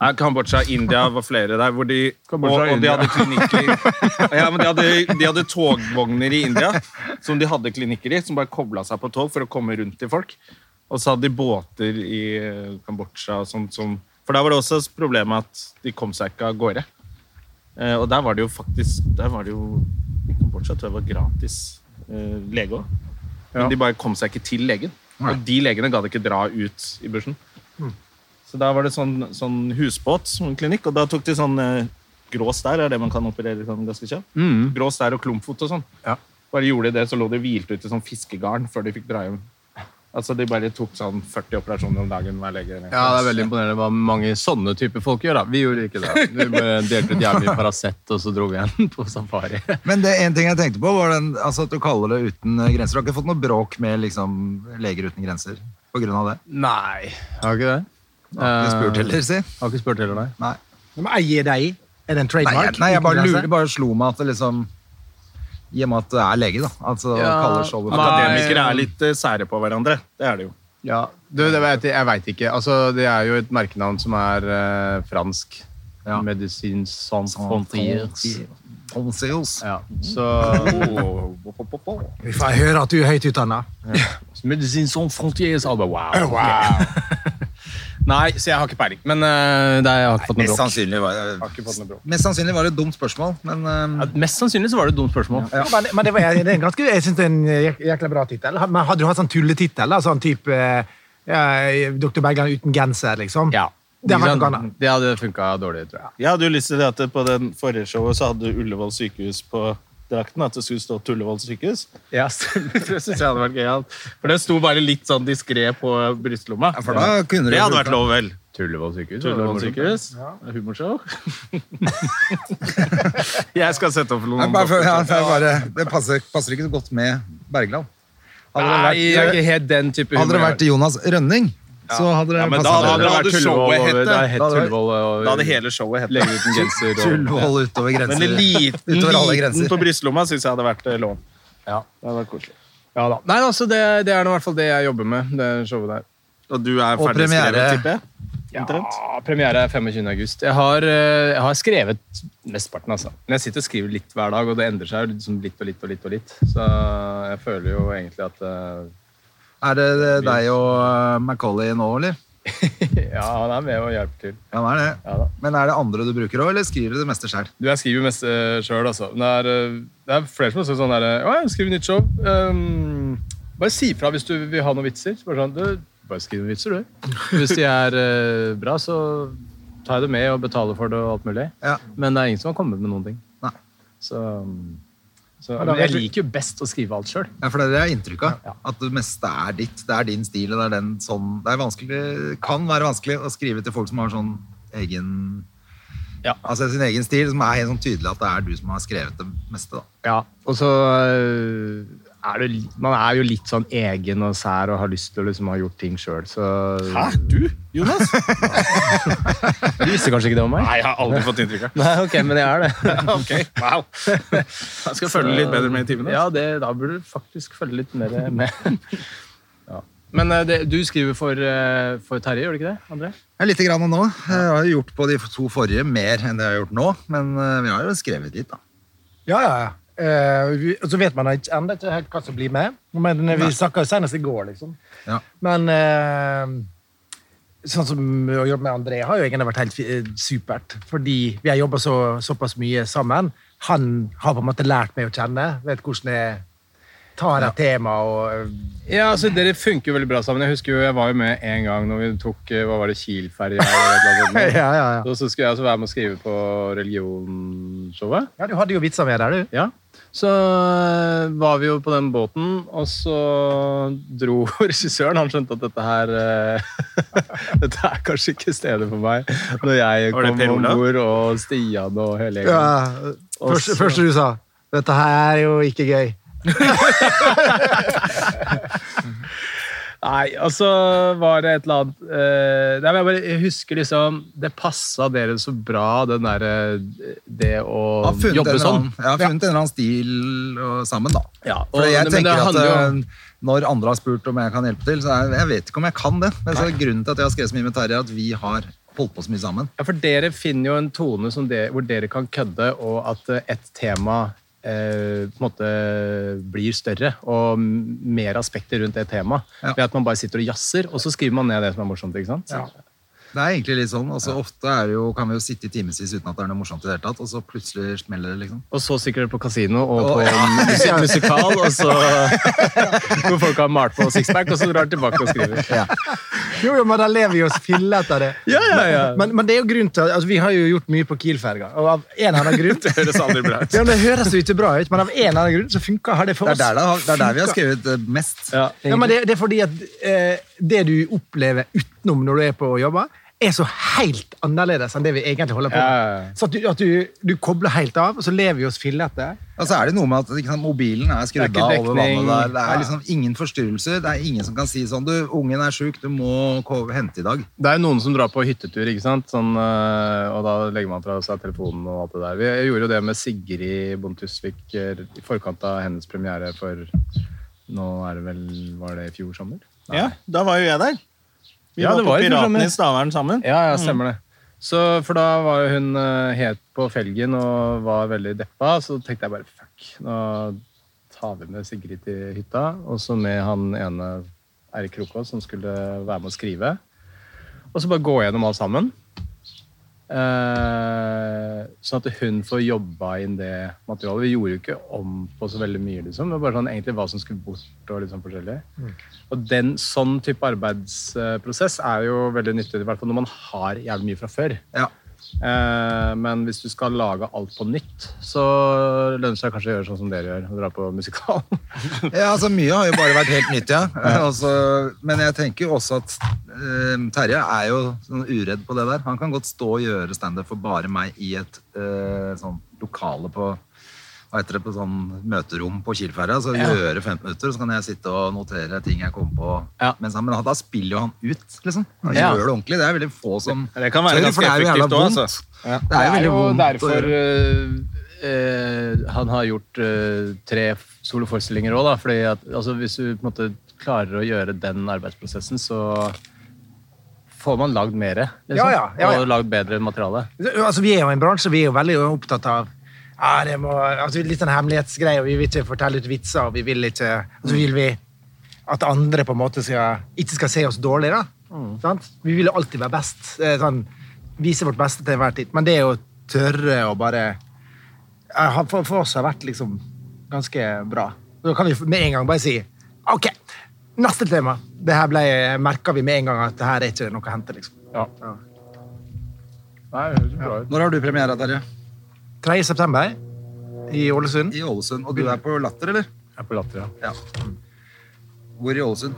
Nei, Kambodsja, India var flere der, hvor de, og,
Kambodsja,
og de
India.
hadde
[LAUGHS]
klinikker, ja, men de hadde, de hadde togvogner i India, som de hadde klinikker i, som bare koblet seg på tog for å komme rundt til folk. Og så hadde de båter i eh, Kambodsja og sånt som, for der var det også problemet at de kom seg ikke av gårde. Eh, og der var det jo faktisk Der var det jo i Kambodsja tror jeg var gratis eh, lege òg. Men de bare kom seg ikke til legen. Og de legene gadd ikke dra ut i bushen.
Mm.
Så da var det sånn, sånn husbåt som en klinikk, og da tok de sånn eh, grå stær, er det man kan operere sånn ganske kjapt.
Mm.
Grå stær og klumpfot og sånn. Bare gjorde de det, så lå de hvilt ut i sånn fiskegarn før de fikk dra hjem. Altså, De bare tok sånn 40 operasjoner om dagen hver lege.
Ja, Det er veldig imponerende hva mange sånne typer folk gjør. da. Vi gjorde ikke det. Vi bare delte ut jævlig
[LAUGHS]
Paracet, og så dro vi igjen på safari.
Men det en ting jeg tenkte på, var den, altså at du kaller det Uten eh, grenser. Du har ikke fått noe bråk med liksom, Leger uten grenser på grunn av det?
Nei, har ikke det.
Jeg har ikke spurt heller, si.
Har ikke spurt heller, nei.
Nei.
Men eier deg er det en
Nei,
trademark?
jeg, nei, jeg bare
Uten grenser?
lurer, bare slo meg at det liksom I og med at det er lege, da. Altså,
Ja,
kaller showet
nei.
Akademikere er litt eh, sære på hverandre. Det er det jo.
Ja, du, det vet jeg, jeg veit ikke. Altså, det er jo et merkenavn som er eh, fransk.
Ja.
Medisin sans Mm-hmm. frontiers.
Tonsills.
Ja, så Oh.
Vi får høre at du er høyt utdanna.
Medisin sans frontiers. Alle bare, Eh, wow. Nei, så jeg har ikke peiling. Men eh, det er, jeg har ikke fått noe
Mest
bråk.
sannsynlig, var,
Har ikke fått noe bråk.
mest sannsynlig var det et dumt spørsmål, men eh,
Ja, mest sannsynlig så var det et dumt spørsmål.
Ja. Men, men det, var, det er en ganske, jeg syns det er en jek- jækla bra tittel. Men Hadde du hatt sånn tulletittel? da? Sånn type eh, ja, Dr. Bergland uten genser, liksom?
Ja.
Det hadde
Sånn
vært noe annet.
det hadde funka dårlig, tror jeg.
Jeg hadde jo lyst til det at på den forrige showet så hadde Ullevål sykehus på drakten. At det skulle stå Tullevål sykehus.
Ja, stemmer.
[LAUGHS] Det synes jeg hadde vært gøyalt. For det sto bare litt sånn diskré på brystlomma.
ja, For da kunne
Det
jo
hadde
gjort
vært lov, vel.
Tullevoll sykehus.
Tullevål sykehus. Humorshow. [LAUGHS] jeg skal sette opp
Nei,
noen
bare for, ja, for jeg bare, det passer, passer ikke så godt med Bergland. Hadde det
Nei,
vært,
det er ikke helt den type
hadde det vært Jonas Rønning, så hadde det
Ja,
Altså,
men da
passet bedre.
hadde det vært Tullevål over- det er
hett Tullevål
Da hadde hele showet hett
Legge ut en eh, genser og
Tullvoll utover
Men en
grenser.
liten,
Utover alle
liten
grenser.
på brystlomma syns jeg hadde vært eh, lov.
Ja.
Det hadde vært koselig.
Ja da. Nei, altså, det, det er nå i hvert fall det jeg jobber med. det showet der.
Og du er
Og
ferdigskrevet,
premiere.
tipper jeg? omtrent?
Ja, Ah, premiere er 25. august. Jeg har, eh, jeg har skrevet mesteparten, altså. Men jeg sitter og skriver litt hver dag, og det endrer seg jo liksom litt og litt og litt. og litt. Så jeg føler jo egentlig at eh,
Er det eh, deg og eh, Macaulay nå, eller?
Ja, han er med og hjelper til.
Ja, det er det.
Ja da.
Men er det andre du bruker òg, eller skriver du det meste sjøl?
Du, jeg skriver jo mest uh, sjøl, altså. Men Det er, eh, det er flere som har sagt sånn derre Å, jeg skriver nytt show. Ehm, bare si fra hvis du vil ha noen vitser. Bare sånn, du, bare skriv noen vitser, du. [LAUGHS] Hvis de er eh, bra, så tar jeg det med og betaler for det og alt mulig.
Ja.
Men det er ingen som har kommet med noen ting.
Nei.
Så, så men Jeg liker jo best å skrive alt sjøl.
Ja, for det er det jeg har inntrykk av. At det meste er ditt. Det er din stil. og Det, er den, sånn, det er vanskelig, kan være vanskelig å skrive til folk som har sånn egen
Ja.
Altså sin egen stil, som er helt sånn tydelig at det er du som har skrevet det meste. da.
Ja, og så øh, er det, li- man er jo litt sånn egen og sær og har lyst til å liksom ha gjort ting sjøl, så
Hæ? Du, Jonas?
Du visste kanskje ikke det om meg?
Nei, jeg har aldri fått inntrykk av
Nei, ok, men jeg er det.
[LAUGHS] Ok, wow. Jeg skal følge litt bedre med i timene.
Ja, det, da burde du faktisk følge litt mer med. [LAUGHS] Ja. Men øh, det, du skriver for, øh, for Terje, gjør du ikke det, André?
Ja, Litt grann nå. Jeg har jo gjort på de to forrige mer enn det jeg har gjort nå, men eh, vi har jo skrevet litt, da.
Ja, ja, ja. Eh, vi- og så vet man ikke, enda ikke helt hva som blir med. Men eh, vi snakka jo senest i går, liksom.
Ja.
Men eh, sånn som å jobbe med André har jo egentlig vært helt fi- eh, supert. Fordi vi har jobba så, såpass mye sammen. Han har på en måte lært meg å kjenne. Vet hvordan jeg tar et tema og eh,
Ja, altså Dere funker jo veldig bra sammen. Jeg husker jo, jeg var jo med en gang når vi tok eh, hva var det, Kiel-ferja. eller
[LAUGHS]
et eller annet sånt.
Ja, ja, ja.
Og så skulle jeg også være med å skrive på religionshowet.
Ja, du hadde jo vitser med der, du.
Ja. Så eh, var vi jo på den båten, og så dro [LAUGHS] regissøren. Han skjønte at dette her eh, [LAUGHS] Dette er kanskje ikke stedet for meg. Når jeg
Var det
kom
Per
om
Olav?
bord, og Stian og hele gjengen.
Ja,
Også-
første, første du sa. Dette her er jo ikke gøy.
Nei, altså var det et eller annet eh, nei, men jeg, bare, jeg husker liksom Det passa dere så bra, den derre Det å
Jeg har funnet, en
jobbe
eller,
sånn.
annen, jeg har funnet en eller annen stil og, sammen, da.
Ja, og-
For jeg
men det
tenker at
handler jo
eh,
om-
når andre har spurt om jeg kan hjelpe til, så er, jeg vet ikke om jeg kan det. Men så er grunnen til at jeg har skrevet så mye med Terje, er at vi har holdt på så mye sammen.
Ja, for dere finner jo en tone som det, hvor dere kan kødde, og at eh, et tema eh, på en måte blir større, og m- mer aspekter rundt det temaet.
Ja.
Ved at man bare sitter og jazzer, og så skriver man ned det som er morsomt. ikke sant?
Det er egentlig litt sånn. Altså, Ofte er det jo, kan vi jo sitte i timevis uten at det er noe morsomt i det hele tatt, og så plutselig smeller det, liksom.
Og så stikker dere på kasino og
Å,
på
ja.
en musik musikal, og så [LAUGHS] hvor folk har malt på sixpack, og så drar dere tilbake og skriver. Ja,
Jo, jo, men da lever vi oss fille etter det.
ja, ja.
Men, men det er jo grunn til, at- altså, vi har jo gjort mye på Kiel-ferga, og av en eller annen grunn
Det høres aldri bra ut.
ja, men Det høres jo ikke bra ut, men av en eller annen grunn så funka har det for
Det
oss.
er der, det har, det er der vi har skrevet eh, mest.
Ja,
ja, men det, det er fordi at eh, det du opplever utenom når du er på jobb, er så helt annerledes enn det vi egentlig holder på med.
Ja, ja, ja.
Så at du, at du, du kobler helt av, og så lever vi oss fillete.
Og så Altså, er det noe med at ikke sant, mobilen er
Det
skrudd
er
av
ikke
over
dekning.
vannet der. Det er liksom ingen forstyrrelser. Det er ingen som kan si sånn Du, ungen er sjuk, du må ko- hente i dag.
Det er jo noen som drar på hyttetur, ikke sant? Sånn, øh, og da legger man fra seg telefonen og alt det der. Vi jeg gjorde jo det med Sigrid Bonde Tusvik øh, i forkant av hennes premiere for Nå er det vel Var det i fjor sommer? Nei.
[LAUGHS] Ja, da var jo jeg der. Vi
Ja,
var sånn,
det
på
var jo programmet.
Piratene i Stavern sammen.
Ja, ja, stemmer det. Så, for da var jo hun øh, helt på felgen og var veldig deppa, så tenkte jeg bare fuck, nå tar vi med Sigrid til hytta, og så med han ene Eirik Krokås som skulle være med å skrive. Og så bare gå gjennom alt sammen. Eh, sånn at hun får jobba inn det materialet. Vi gjorde jo ikke om på så veldig mye, liksom. Det var bare sånn egentlig hva som skulle bort, og litt sånn forskjellig. Og den sånn type arbeidsprosess er jo veldig nyttig, i hvert fall når man har jævlig mye fra før.
Ja.
Eh, men hvis du skal lage alt på nytt, så lønner det seg kanskje å gjøre sånn som dere gjør, og dra på musikal.
Ja, altså Mye har jo bare vært helt nytt, ja. [LAUGHS] Altså, men jeg tenker jo også at eh, Terje er jo sånn uredd på det der. Han kan godt stå og gjøre standup for bare meg i et eh, sånn lokale på hva heter det, på sånn møterom på Kielferja. Så gjøre 15 minutter, så kan jeg sitte og notere ting jeg kommer på.
Ja.
Mens han, men da spiller jo han ut, liksom. Han
Ja.
gjør det ordentlig. Det er veldig få
[LAUGHS]
som
Det kan være
tør,
ganske
Sånn. for det er jo jævla
effektivt òg,
vondt.
altså.
Det er jo veldig vondt. å
derfor
gjøre.
eh, eh, han har gjort eh, tre soloforestillinger òg, da. Fordi at, altså, hvis du på en måte klarer å gjøre den arbeidsprosessen, så får man lagd mer. Liksom.
Ja, ja, ja, ja.
Og lagd bedre materiale.
Altså, vi er jo en bransje, vi er jo veldig opptatt av ja, det må, altså, litt sånn hemmelighetsgreier. Vi vil ikke fortelle ut vitser, og vi vil ikke altså, vil vi at andre på en måte skal, ikke skal se oss dårlig. Da. Sant? Vi vil jo alltid være best. eh, Sånn, vise vårt beste til enhver tid. Men det er jo tørre å bare ja, har- for, for oss har det vært liksom ganske bra. Da kan vi med en gang bare si OK, neste tema. Det her ble, merka vi med en gang at det her er ikke noe å hente. liksom.
Nei, det høres bra ut.
Når har du premiere, Terje?
3. september i Ålesund.
I Ålesund. Og du er på Latter, eller?
Jeg er på latter, ja.
Ja. Hvor i Ålesund?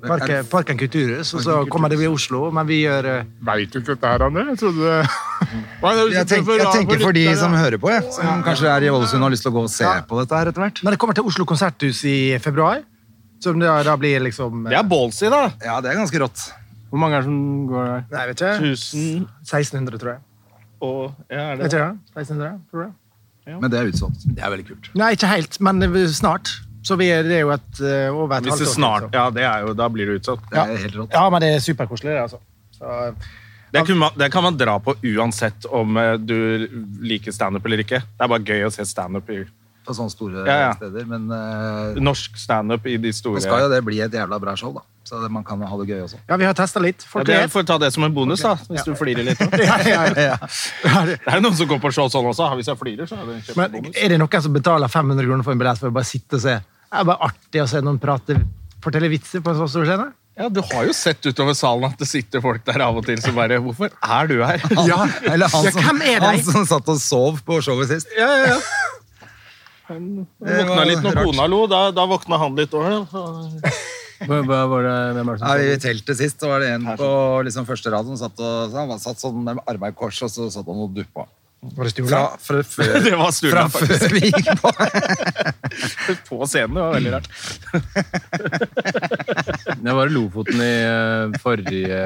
Parken, Parken Kulturhus, og så
Parken
kommer det i Oslo, men vi gjør eh,
Veit du ikke dette her, André? Jeg trodde [LAUGHS] Hva er det du
Jeg
sitter
tenker, jeg tenker for de
lyttere?
som hører på, jeg, som kanskje er i Ålesund og har lyst til å gå og se på dette her etter hvert.
Når det kommer til Oslo Konserthus i februar, som da, da blir liksom eh,
Det er ballsy, da.
Ja, det er ganske rått.
Hvor mange er det som går der?
Nei, vet ikke.
1000
1600, tror jeg.
og ja, er
Vet
det.
ikke, ja. 1600, tror jeg.
Men det er utsolgt. Det er veldig kult.
Nei, ikke helt, men eh, snart. Så vi er, det er jo et, eh, over et
Hvis det
halvt år.
snart
til,
Ja, det er jo, da blir det utsatt.
Det er helt
så.
rått.
ja, men det er superkoselig, det, altså. Så,
Det, kunne man, det kan man dra på uansett om eh, du liker standup eller ikke. Det er bare gøy å se standup i
På sånne store
Ja, ja.
steder. Men eh,
norsk standup i de store
nå skal jo det bli et jævla bra show, da. Så det, man kan ha det gøy [LAUGHS] også.
ja, vi har testa litt.
ja,
Folk
det,
ler.
Får ta det som en bonus, da, hvis du flirer litt. [LAUGHS] Det
Ja, ja,
[LAUGHS]
ja. Ja, det-
er jo noen som går på show sånn også. Hvis jeg flirer, så er det en
Men
kjempebonus.
er det noen som betaler 500 kroner for en billett for å bare sitte og se? Det er bare artig å se noen prate, fortelle vitser på en så stor scene.
Ja, du har jo sett utover salen at det sitter folk der av og til som bare Hvorfor er du [LAUGHS] her?
Ja.
Eller han
Ja,
som,
hvem er de?
han som satt og sov på showet sist.
Ja, ja, ja. Han våkna litt når
rart.
kona lo. Da, da våkna han litt òg.
Hvor, hvor, hvor, er det- hvem er det som
Ja,
står
I
der?
teltet sist så var det en på liksom, første rad som satt, og, så han var satt sånn med armene i kors, og så satt han og duppa.
Var det Sturla?
Fra, [LAUGHS] fra før,
Det var Sturla,
fra før vi gikk på.
På scenen. Det var veldig rart.
Jeg var i Lofoten i eh, forrige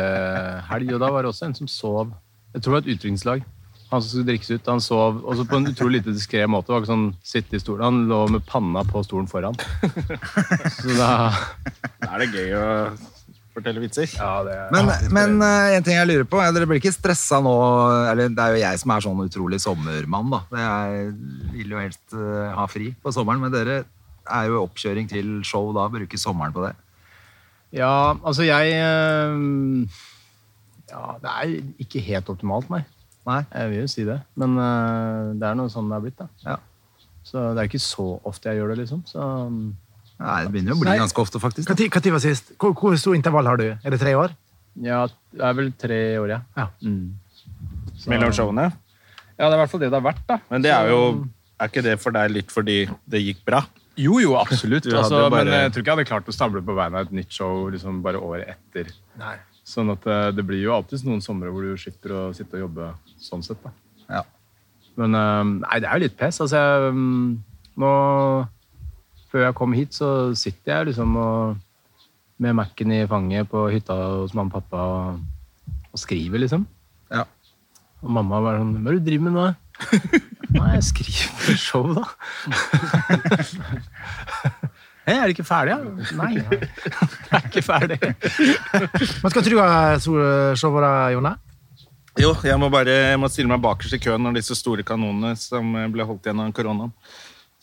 helg, og da var det også en som sov. Jeg tror det var et utdrikningslag. Han som skulle drikkes ut, han sov også på en utrolig lite diskré måte. Det var ikke sånn sitte i stolen. Han lå med panna på stolen foran. Så da
Da er det gøy å fortelle vitser.
Ja, det er
Men, men eh, en ting jeg lurer på, er dere blir ikke stressa nå eller Det er jo jeg som er sånn utrolig sommermann, da. Jeg vil jo helst eh, ha fri på sommeren, men dere er jo i oppkjøring til show da. Bruker sommeren på det.
Ja, altså jeg eh, Ja, det er ikke helt optimalt, nei.
Nei?
Jeg vil jo si det. Men eh, det er noe sånn det er blitt, da.
Ja.
Så det er ikke så ofte jeg gjør det, liksom. Så
Nei, det begynner jo å bli
Nei.
ganske ofte, faktisk.
Hva tid hva tid var sist? Hvor, hvor stor intervall har du? Er det tre år?
ja, det er vel tre år, ja.
Ja.
Mm. Så-
Mellom showene.
Ja, det er i hvert fall det det har vært, da.
Men det er jo Er ikke det for deg litt fordi det gikk bra?
Jo, jo, absolutt.
[LAUGHS] Du hadde
Altså,
jo bare-
Men jeg tror ikke jeg hadde klart å stable på beina et nytt show liksom bare året etter.
Nei.
Sånn at eh, det blir jo alltid noen somre hvor du slipper å sitte og jobbe sånn sett, da.
Ja.
Men eh, nei, det er jo litt pes. Altså, jeg, mm, nå Før jeg kom hit, så sitter jeg liksom og med Mac-en i fanget på hytta hos mamma og pappa og, og skriver, liksom.
Ja.
Og mamma bare sånn Hva er det du driver med nå? [LAUGHS] Nei, jeg skriver [LAUGHS] show, da. Hei, er du ikke ferdig, da? Nei, [LAUGHS] jeg er ikke ferdig.
Men skal du ha sol- showet, da, Jone?
Jo, jeg må bare jeg må stille meg bakerst i køen når disse store kanonene som ble holdt igjen av koronaen.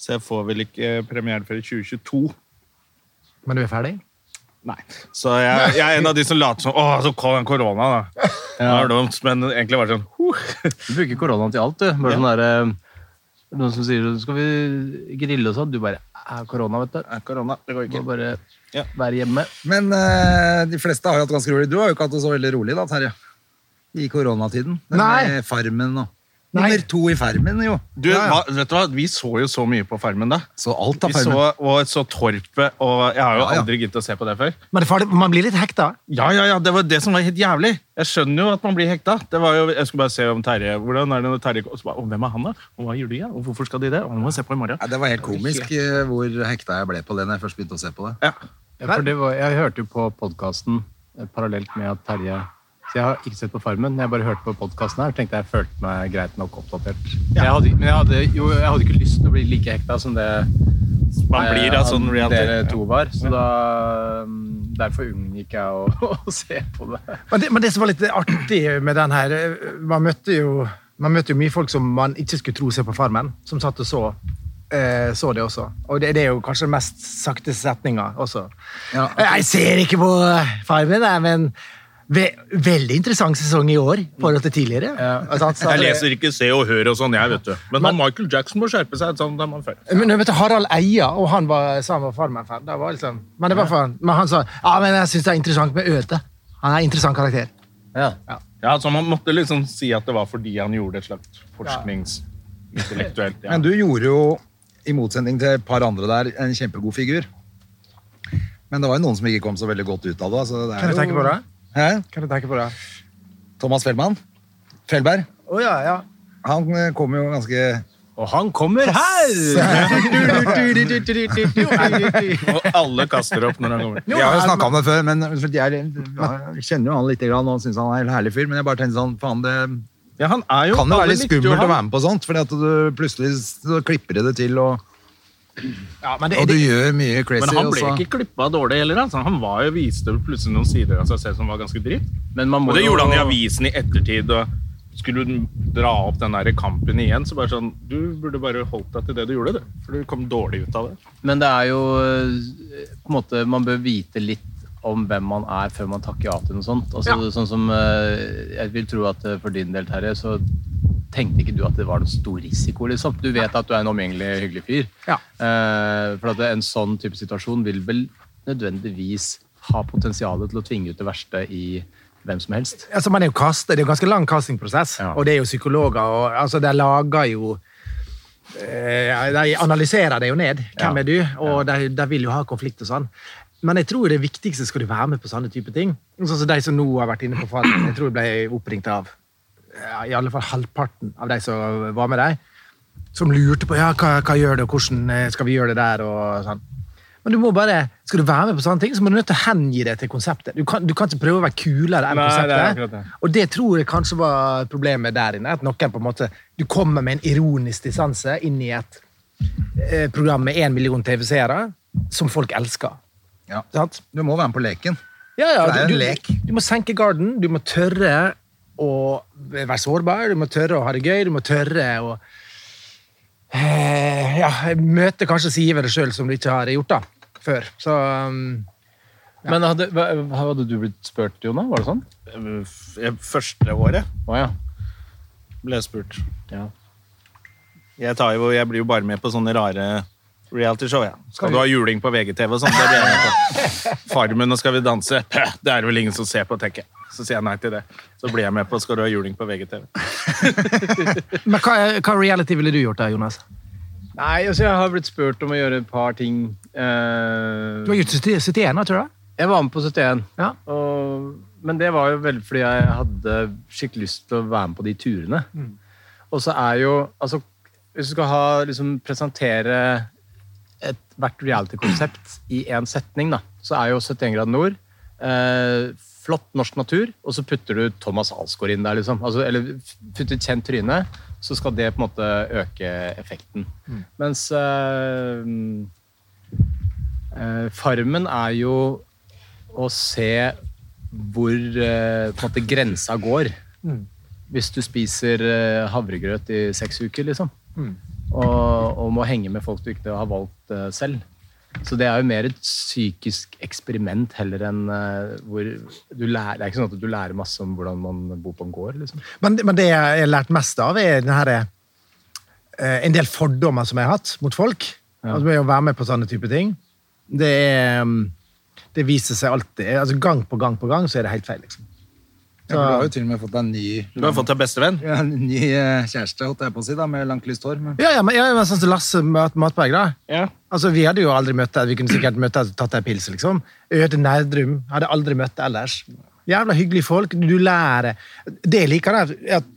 Så jeg får vel ikke premiere før i 2022.
Men du er ferdig?
Nei. Så jeg, jeg er en av de som later som Å, så kom den korona, [LAUGHS] da. Det var dumt, men egentlig var det sånn huh.
Du bruker koronaen til alt, du. Bare sånn der, eh, Noen som sier 'skal vi grille' og sånn. Du bare «Eh, 'Korona, vet du'.
Nei, Korona, det går
Må
ikke.
bare
Ja.
være hjemme.
Men eh, de fleste har jo hatt ganske rolig. Du har jo ikke hatt det så veldig rolig, da, Terje. I koronatiden. Den
Nei.
der Farmen og
Nei.
Nummer to i Farmen, jo.
Du, hva, vet du hva? Vi så jo så mye på Farmen da.
Så alt av
Vi så,
Farmen.
og så Torpet, og jeg har jo
Ja, ja.
aldri giddet å se på det før.
Men det er farlig, man blir litt hekta.
Ja, ja, ja, det var det som var helt jævlig. Jeg skjønner jo at man blir hekta. Det var jo, jeg skulle bare se om Terje, hvordan er det når Terje, og så bare, «Å, hvem er han da? Og hva gjør de da? Og hvorfor skal de det? Og nå må jeg se på i morgen.
Ja, det var helt komisk eh, hvor hekta jeg ble på det når jeg først begynte å se på det.
Ja,
Ja, for det var, jeg hørte jo på podkasten parallelt med at Terje Så jeg har ikke sett på Farmen, jeg bare hørte på podkasten her og tenkte jeg følte meg greit nok oppdatert. Jeg hadde, men jeg hadde, jo, jeg hadde ikke lyst til å bli like hekta som det
man blir
eh,
av sånn
dere
reality.
to var. Så da, mm, derfor unngikk jeg å, [LAUGHS] å se på det.
Men det, men det som var litt artig med den her Man møtte jo, man møtte jo mye folk som man ikke skulle tro seg på Farmen, som satt og så. eh, Så det også. Og det, det er jo kanskje den mest sakte setninga også.
Ja.
Jeg ser ikke på Farmen, jeg, men ve veldig interessant sesong i år i forhold til tidligere. Altså, han sa-
Jeg leser ikke Se og Hør og sånn, jeg, vet du. Men han Michael Jackson må skjerpe seg. Sånn, da er man ferdig.
Men jeg møtte Harald Eia, og han var, sa han var Farmen-fan. Det var liksom, men, det var for, men han sa ja, men jeg syns det er interessant med Øte. Han er en interessant karakter.
Ja, så Man måtte liksom si at det var fordi han gjorde et slags forskningsintellektuelt. Ja.
Men du gjorde jo, i motsetning til et par andre der, en kjempegod figur. Men det var jo noen som ikke kom så veldig godt ut av det. Så det er
Kan du
jo...
tenke på det?
Hæ?
Kan du tenke på det?
Thomas Feldmann? Feldberg?
Å ja, ja.
Han eh, kom jo ganske
Og han kommer her!
Og alle kaster opp når han kommer.
Vi har jo snakka om det før, men for jeg, jeg kjenner jo han litt grann, og syns han er en herlig fyr. Men jeg bare tenkte sånn, faen, det
Ja, han er jo,
kan jo
alle
være litt
likte jo
skummelt å
han.
være med på sånt, fordi at du plutselig så klipper de det til, og,
ja men det,
og du gjør mye crazy.
Men han
og
ble
så-
ikke klippa dårlig heller. Altså. Han var jo viste plutselig noen sider av seg selv som var ganske dritt.
Men man må
Og det gjorde han i
jo-
avisen i ettertid. og skulle du dra opp den der kampen igjen, så bare sånn Du burde bare holdt deg til det du gjorde, du. For du kom dårlig ut av det.
Men det er jo eh, på en måte, Man bør vite litt om hvem man er før man takker ja til noe sånt. Altså, sånn som, eh, jeg vil tro at eh, for din del, Terje, så tenkte ikke du at det var noen stor risiko. liksom. Du vet at du er en omgjengelig, hyggelig fyr.
Ja.
Eh, for at en sånn type situasjon vil vel nødvendigvis ha potensialet til å tvinge ut det verste i hvem som helst.
altså, man er jo kastet, det er jo ganske lang castingprosess,
Ja.
og det er jo psykologer, og altså, de lager jo eh, De analyserer det jo ned. Hvem
Ja.
er du? Og de, de vil jo ha konflikt og sånn. Men jeg tror det viktigste skal du være med på sånne type ting. Sånn som de som nå har vært inne på Farmen. Jeg tror jeg ble oppringt av ja, i alle fall halvparten av de som var med deg, som lurte på ja, hva, hva gjør det, og hvordan eh, skal vi gjøre det der, og sånn. Men du må bare, skal du være med på sånne ting, så må du nødt til å hengi deg til konseptet. Du kan, du kan ikke prøve å være kulere enn
Nei, det er akkurat
konseptet.
det.
og det tror jeg kanskje var problemet der inne. At noen på en måte, du kommer med en ironisk distanse inn i et eh, program med én million TV-seere, som folk elsker.
Ja.
Sant?
Du må være med på leken.
Ja, ja,
For det er
du,
en
du-
lek.
Du må senke garden, du må tørre å være sårbar, du må tørre å ha det gøy, du må tørre å eh, ja, møte kanskje sider ved deg sjøl som du ikke har gjort da, før. Så um,
Men hadde, hva- hadde du blitt spurt, Jona? Var det sånn?
Eh, Første året
Å ja.
ble jeg spurt.
Ja.
Jeg, tar jo, jeg blir jo bare med på sånne rare realityshow. Ja. Skal du ha juling på VGTV og sånn? Det blir jeg med
[LAUGHS]
på. Farmen og Skal vi danse? Det er det vel ingen som ser på, tenker jeg. Så sier jeg nei til det. Så blir jeg med på Skal du ha juling på VGTV.
Men hva, hva reality ville du gjort da, Jonas?
Nei, altså jeg har blitt spurt om å gjøre et par ting. eh,
Du har gjort 70 71, da, tror jeg?
Jeg var med på 71.
Ja.
Og, men det var jo veldig fordi jeg hadde skikkelig lyst til å være med på de turene. Og så er jo Altså, hvis du skal ha, liksom, presentere ethvert reality-konsept i én setning, da, så er jo 71 grader nord eh, flott norsk natur, og så putter du Thomas Alsgaard inn der, liksom. Altså, eller putter et kjent tryne, så skal det på en måte øke effekten. Mens eh, Eh, farmen er jo å se hvor eh, på en måte grensa går. Hvis du spiser eh, havregrøt i seks uker, liksom. Og, og må henge med folk du ikke har valgt eh, selv. Så det er jo mer et psykisk eksperiment heller enn eh, hvor du lærer, Det er ikke sånn at du lærer masse om hvordan man bor på en gård, liksom.
Men, men det jeg har lært mest av, er den her, eh, en del fordommer som jeg har hatt mot folk. Altså med å være med på sånne type ting. Det, er, mm, det viser seg alltid altså Gang på gang på gang så er det helt feil. liksom.
Ja, for du har jo til og med fått deg en ny,
Du har fått deg bestevenn.
ja, en ny eh, kjæreste, holdt jeg på å si, da, med langt lyst hår. Men...
Ja, ja, men, ja, men sånn som Lasse Mat Matberg, da.
Ja.
Altså, Vi hadde jo aldri møtt deg. Vi kunne sikkert møtt deg og tatt deg en pils. liksom. Øde Nerdrum. Hadde aldri møtt deg ellers. Jævla hyggelige folk. Du lærer Det jeg liker, er at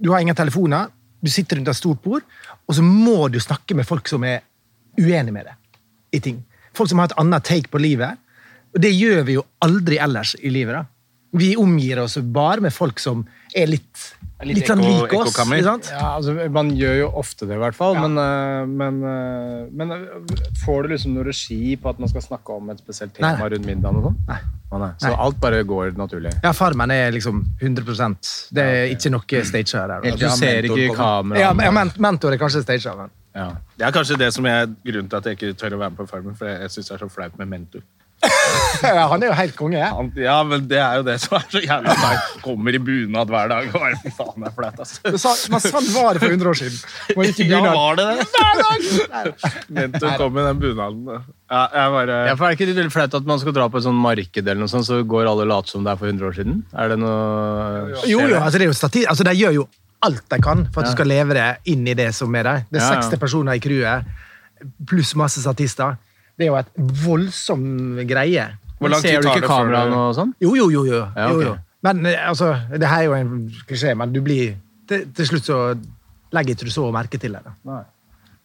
du har ingen telefoner. Du sitter rundt et stort bord, og så må du snakke med folk som er uenige med deg i ting. Folk som har et annet take på livet. Og det gjør vi jo aldri ellers i livet. da. Vi omgir oss bare med folk som er litt, litt, sånn
ekko-
like oss.
ekkokammer.
ikke sant?
Ja, altså, man gjør jo ofte det, i hvert fall. Men, eh, men, eh, men eh, får du liksom noe regi på at man skal snakke om et spesielt tema
Nei.
rundt middagen? og sånn?
Nei.
Å nei. Så
Nei.
alt bare går naturlig.
Ja, Farmen er liksom 100 Det er ikke noe staged her. eller?
Du
til jeg har
ser
mentor på
ikke
det.
Ja,
kameraet.
men- ja, men- mentor er kanskje staged. Men. [LAUGHS]
Ja. Det er kanskje det som er grunnen til at jeg ikke tør å være med på Farmen, for jeg syns det er så flaut med mentor.
Ja, han er jo helt konge. Ja.
Han, ja, men det er jo det som er så jævla flaut. Kommer i bunad hver dag og bare fy faen, det er flaut, ass.
Men så- Men sånn var det for 100 år siden. Man gikk i
[LAUGHS] Ja,
bunad.
var det det? Mentor kom i den bunaden. Ja, jeg bare...
Ja,
for Er det ikke veldig flaut at man skal dra på et sånn marked, eller noe sånt, så går alle og later som det er for 100 år siden? Er det noe
Jo, jo, altså det er jo stati- altså De gjør jo alt de kan for at du skal leve deg inn i det som er der. Det er
Ja, ja.
60 personer i crewet, pluss masse statister. Det er jo et voldsom greie.
Hvor lang
Ser
tid
du
tar
ikke
det før du-
kameraene og sånn?
Jo, jo, jo. jo,
Ja, ok.
jo, jo. Men eh, altså, det her er jo en klisjé, men du blir til, til slutt så legger ikke du så merke til det. da.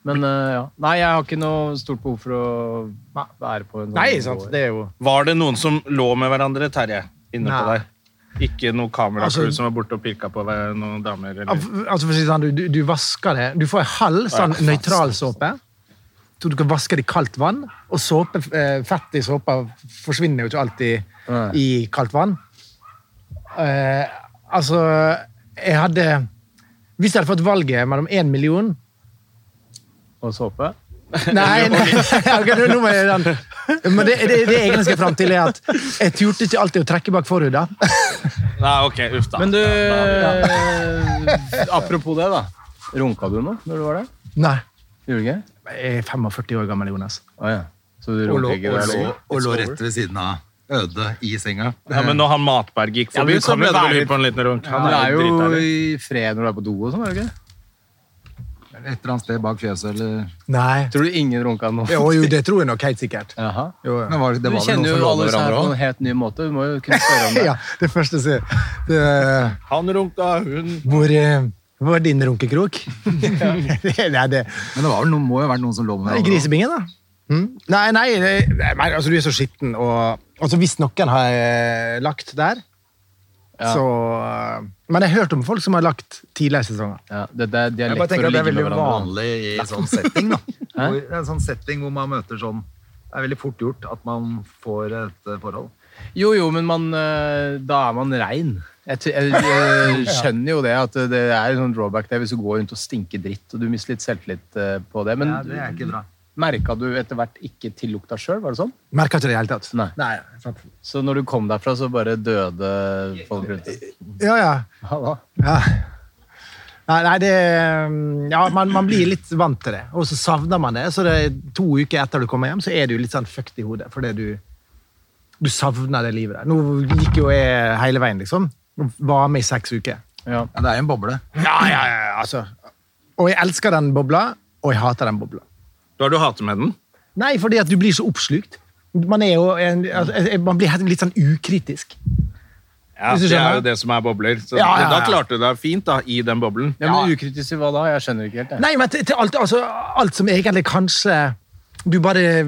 Men eh, ja. Nei, jeg har ikke noe stort behov for å være på en sånn
Nei, sant? Det er jo
Var det noen som lå med hverandre, Terje? Inne på
Nei.
deg? Ikke noe kameracrew
Altså-
som var borte og pirka på hver- noen damer?
Ja,
Eller?
for- Altså, for å si det sånn, du, du, du vasker det. Du får en halv sånn
Ja, faen.
nøytral såpe. Så du kan vaske det i kaldt vann. Og såpe, eh, fett i såpa forsvinner jo ikke alltid
Nei.
i kaldt vann. Eh, altså, jeg hadde Hvis jeg hadde fått valget mellom én [LAUGHS] million
Og såpe?
Nei, nei. [LAUGHS] ok, nå- nå må jeg den. Men det, det, det jeg egentlig skal fram til, er at jeg turte ikke alltid å trekke bak forhuda.
Nei, ok, uff da. Men du, eh, apropos det, da. Runka du nå når du var der?
Nei.
Gjorde du ikke?
Jeg er 45 år gammel, Jonas.
Å ja. Så du
Og lå,
runker ikke?
og
der
lå,
lenger?
og lå rett ved siden av Øde i senga.
Ja, men når han Matberg gikk
Ja, men
forbi,
du
så
kan
ble
jo
det vel
være
hypp på en liten runk. Han er jo
dritærlig.
i fred når du er på do og sånn, er du ikke?
Et eller annet sted bak fjøset, eller
Nei.
Tror du ingen runka nå?
Jo, jo, det tror jeg nok helt sikkert.
Jaha.
Jo,
Men var, det
Du
var vel noen
kjenner
som
jo
lå
alle
med
disse her
hverandre
på
òg?
en helt ny måte. Du må jo kunne spørre om det.
ja, det første som det,
Han runka, hun
hvor, eh, hvor er din runkekrok? [LAUGHS] nei, det
Men det var vel noen, må jo ha vært noen som lå med
Nei,
hverandre. også.
Grisebingen, da. Mm. Nei, nei, nei, nei, altså du er så skitten, og altså, hvis noen har eh, lagt der, så eh, Men jeg har hørt om folk som har lagt tidligere i sesonger.
ja, det, det, De er
Jeg
lett
bare
for
tenker
å
at det er veldig
ligge med hverandre.
vanlig i sånn
[LAUGHS]
setting, da. Hvor, det er en sånn setting hvor man møter sånn Det er veldig fort gjort at man får et eh, forhold.
Jo, jo, men man, eh, da er man rein. Jeg, t- jeg,
[LAUGHS]
jeg skjønner jo det, at det er en sånn drawback der hvis du går rundt og stinker dritt, og du mister litt selvtillit eh, på det. Men
Ja, det er ikke bra.
merka du etter hvert ikke til lukta sjøl, var det sånn?
Merker ikke det i det hele tatt.
Nei.
sant.
Så når du kom derfra, så bare døde folk rundt deg?
Ja, ja.
Ja, da.
ja. Nei, nei, det mm, Ja, man, man blir litt vant til det, og så savner man det. Så det er to uker etter du kommer hjem, så er du litt sånn fucked i hodet fordi du du savner det livet der. Nå gikk jo jeg hele veien, liksom. Var med i seks uker.
Ja.
Ja, det er jo en boble.
Ja, ja, ja, altså. Og jeg elsker den bobla, og jeg hater den bobla.
Da har du hatet med den?
Nei, fordi at du blir så oppslukt. Man, er jo en, altså, man blir helt- litt sånn ukritisk.
Ja,
Hvis du
det er
skjønner.
jo det som er bobler. Så
Ja, ja, ja.
Da klarte du deg fint da, i den boblen.
Ja, men
ukritisk i hva da? Jeg skjønner ikke helt
Nei, men til, til alt, altså, alt som egentlig kanskje Du bare eh,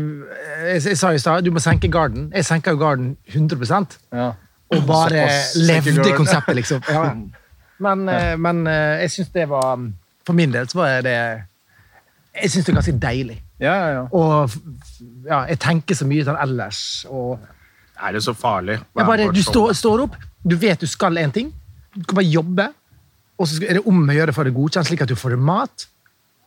Jeg, jeg sa i stad, du må senke garden. Jeg senka jo garden 100 og bare
Såpass, senke
levde
garden.
konseptet, liksom. [LAUGHS] Ja. ja. Men, eh, men eh, jeg syns det var For min del så var det Jeg syns det er ganske deilig.
Ja, ja, ja.
Og f- ja, jeg tenker så mye sånn ellers. Og
Er det så farlig?
jeg bare, du står, står opp, du vet du skal en ting, du kan bare jobbe, og så skal- er det om å gjøre for det godkjent, slik at du får mat,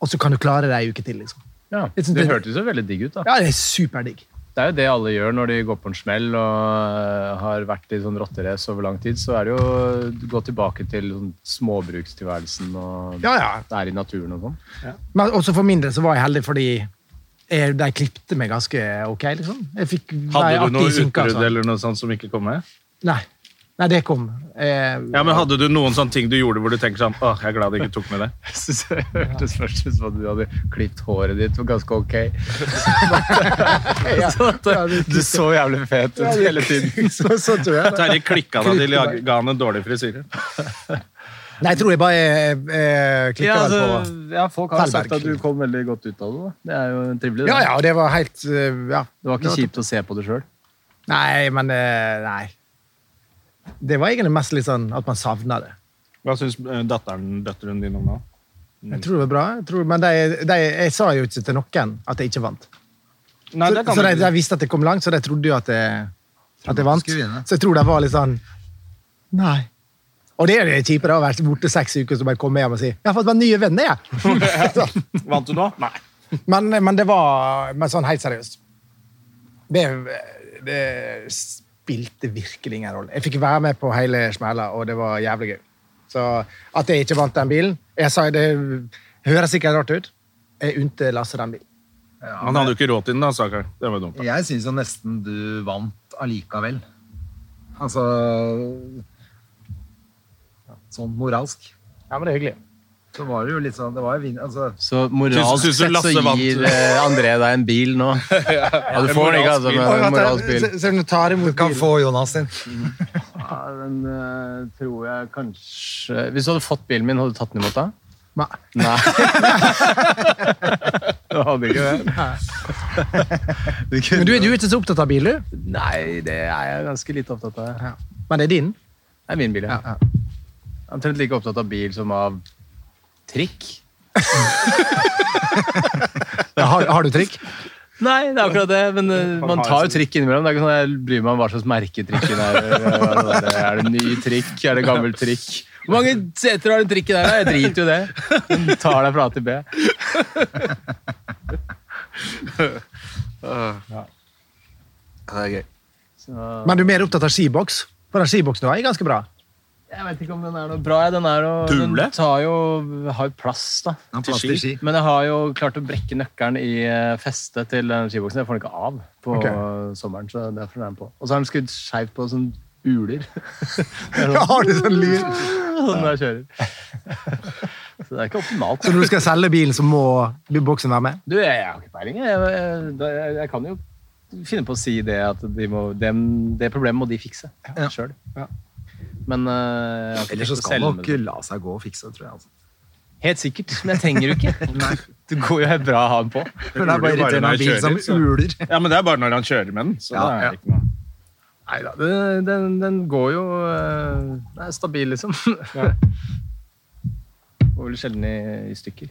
og så kan du klare deg en uke til. Liksom.
Ja,
Jeg synes
det
det-
hørtes jo veldig digg ut, da.
Ja, det er superdigg.
Det er jo det alle gjør når de går på en smell og øh, har vært i sånn rotterace over lang tid. Så er det jo å gå tilbake til sånn småbrukstilværelsen og
Ja, ja.
være i naturen og sånn.
Men også for min del så var jeg heldig fordi jeg, de klippte meg ganske ok, liksom. Jeg fikk være
Hadde du
artig
noe
i synka,
utbrudd
altså.
eller noe sånt som ikke kom med?
Nei. Nei, det kom. Eh,
Ja, men Hadde du noen sånne ting du gjorde hvor du tenker sånn Åh, jeg er glad jeg ikke tok med det?
[LAUGHS] Jeg synes det hørtes først ut som at du hadde klippet håret ditt var ganske ok. [LAUGHS] Så at øh, du så jævlig fet ut hele tiden.
så, så tror jeg.
Terje klikka da de la- ga han en dårlig frisyre.
Nei, jeg tror jeg bare eh, klikket
Ja,
vel på...
altså, ja, folk har sagt
Tellberg.
at du kom veldig godt ut av det. Da. Det er jo trivelig.
Ja,
da.
ja, og det var helt eh, ja.
Det var ikke kjipt å se på det sjøl.
Nei, men eh, Nei. Det var egentlig mest litt sånn at man savna det.
Hva syns datteren, døtteren din om det?
Jeg tror det var bra, jeg tror, men de, de, jeg sa jo ikke til noen at jeg ikke vant.
Nei,
så så de, de visste at jeg kom langt, så de trodde jo at jeg
trodde
at jeg
du
vant.
skulle vinne.
Så jeg tror de var litt sånn Nei. Og det er det kjipe, da, å være borte seks uker og så bare komme hjem og si 'Jeg har fått meg nye venner', [LAUGHS] jeg. Sånn.
Vant du nå? Nei.
men, men det var Men sånn helt seriøst. Det, det spilte virkelig ingen rolle. Jeg fikk være med på hele smella, og det var jævlig gøy. Så at jeg ikke vant den bilen jeg sa Det høres sikkert rart ut. Jeg unte Lasse den bilen.
Han hadde jo ikke råd til den, da, stakkar. Det var dumt. da.
Jeg syns jo nesten du vant allikevel. Altså Sånn moralsk.
Ja, men det er hyggelig.
Så var det jo litt sånn det var jo vin, altså,
Så
Syns- syns
moralsk
du
sett så
Lasse vant?
gir eh, André deg en bil nå. Ja, du får den ikke, altså,
Moralsk
men moralsk bil.
Se- se om du tar
Du
imot
kan
bilen.
få Jonas sin.
Ja, den eh, tror jeg kanskje Hvis du hadde fått bilen min, hadde du tatt den imot da?
Nei.
Nei. du hadde ikke det? Du
Men
kunne...
du, er- du er ikke så opptatt av bil, du.
Nei, det er jeg ganske lite opptatt av.
Men det er din.
Det er min bil, ja.
Ja,
Jeg er Omtrent like opptatt av bil som av trikk.
Ja, har, har du trikk?
Nei, det er akkurat det, men eh, man
har
tar jo
sin-
trikk innimellom. Det er ikke sånn at jeg bryr meg om hva slags merke trikken er. eller hva det Er Er det ny trikk? Er det gammel trikk? Hvor mange seter har den trikken der? Jeg driter jo i det. Den tar deg fra A til B.
Det er gøy.
Men du er mer opptatt av skiboks? For den skiboksen du har, er ganske [LAUGHS] bra.
Jeg vet ikke om den er noe bra. jeg. Den, er jo-
Dule?
den tar jo, har jo plass, da.
Han har plass til ski.
Men jeg har jo klart å brekke nøkkelen i eh, festet til den skiboksen. Jeg får den ikke av på
Ok.
sommeren. så derfor er den på. Og så har den skutt skjevt på sånn uler. [LAUGHS]
Har du sånn lyd?
sånn når jeg kjører. Så det er ikke optimalt.
Så når du skal selge bilen, så må boksen være med?
Du, jeg, jeg har ikke peiling. Jeg, jeg, jeg, jeg kan jo finne på å si det at de må, dem, det problemet må de fikse
Ja.
sjøl.
Ja.
Men eh, jeg har ikke
Ellers så
tenkt å
skal
selge
nok
den.
la seg gå og fikse, tror jeg. Altså.
Helt sikkert, men jeg trenger jo ikke. Det går jo helt bra å ha den på.
Men det er bare
uler
irriterende å ha
bare når
en bil
jeg
som
kjører, så.
uler.
Ja, men det er bare når han kjører med den. Så
Ja,
det
ja.
er ikke noe.
Neida, det- den, den går jo eh, Den er stabil, liksom. Går vel sjelden i, i stykker.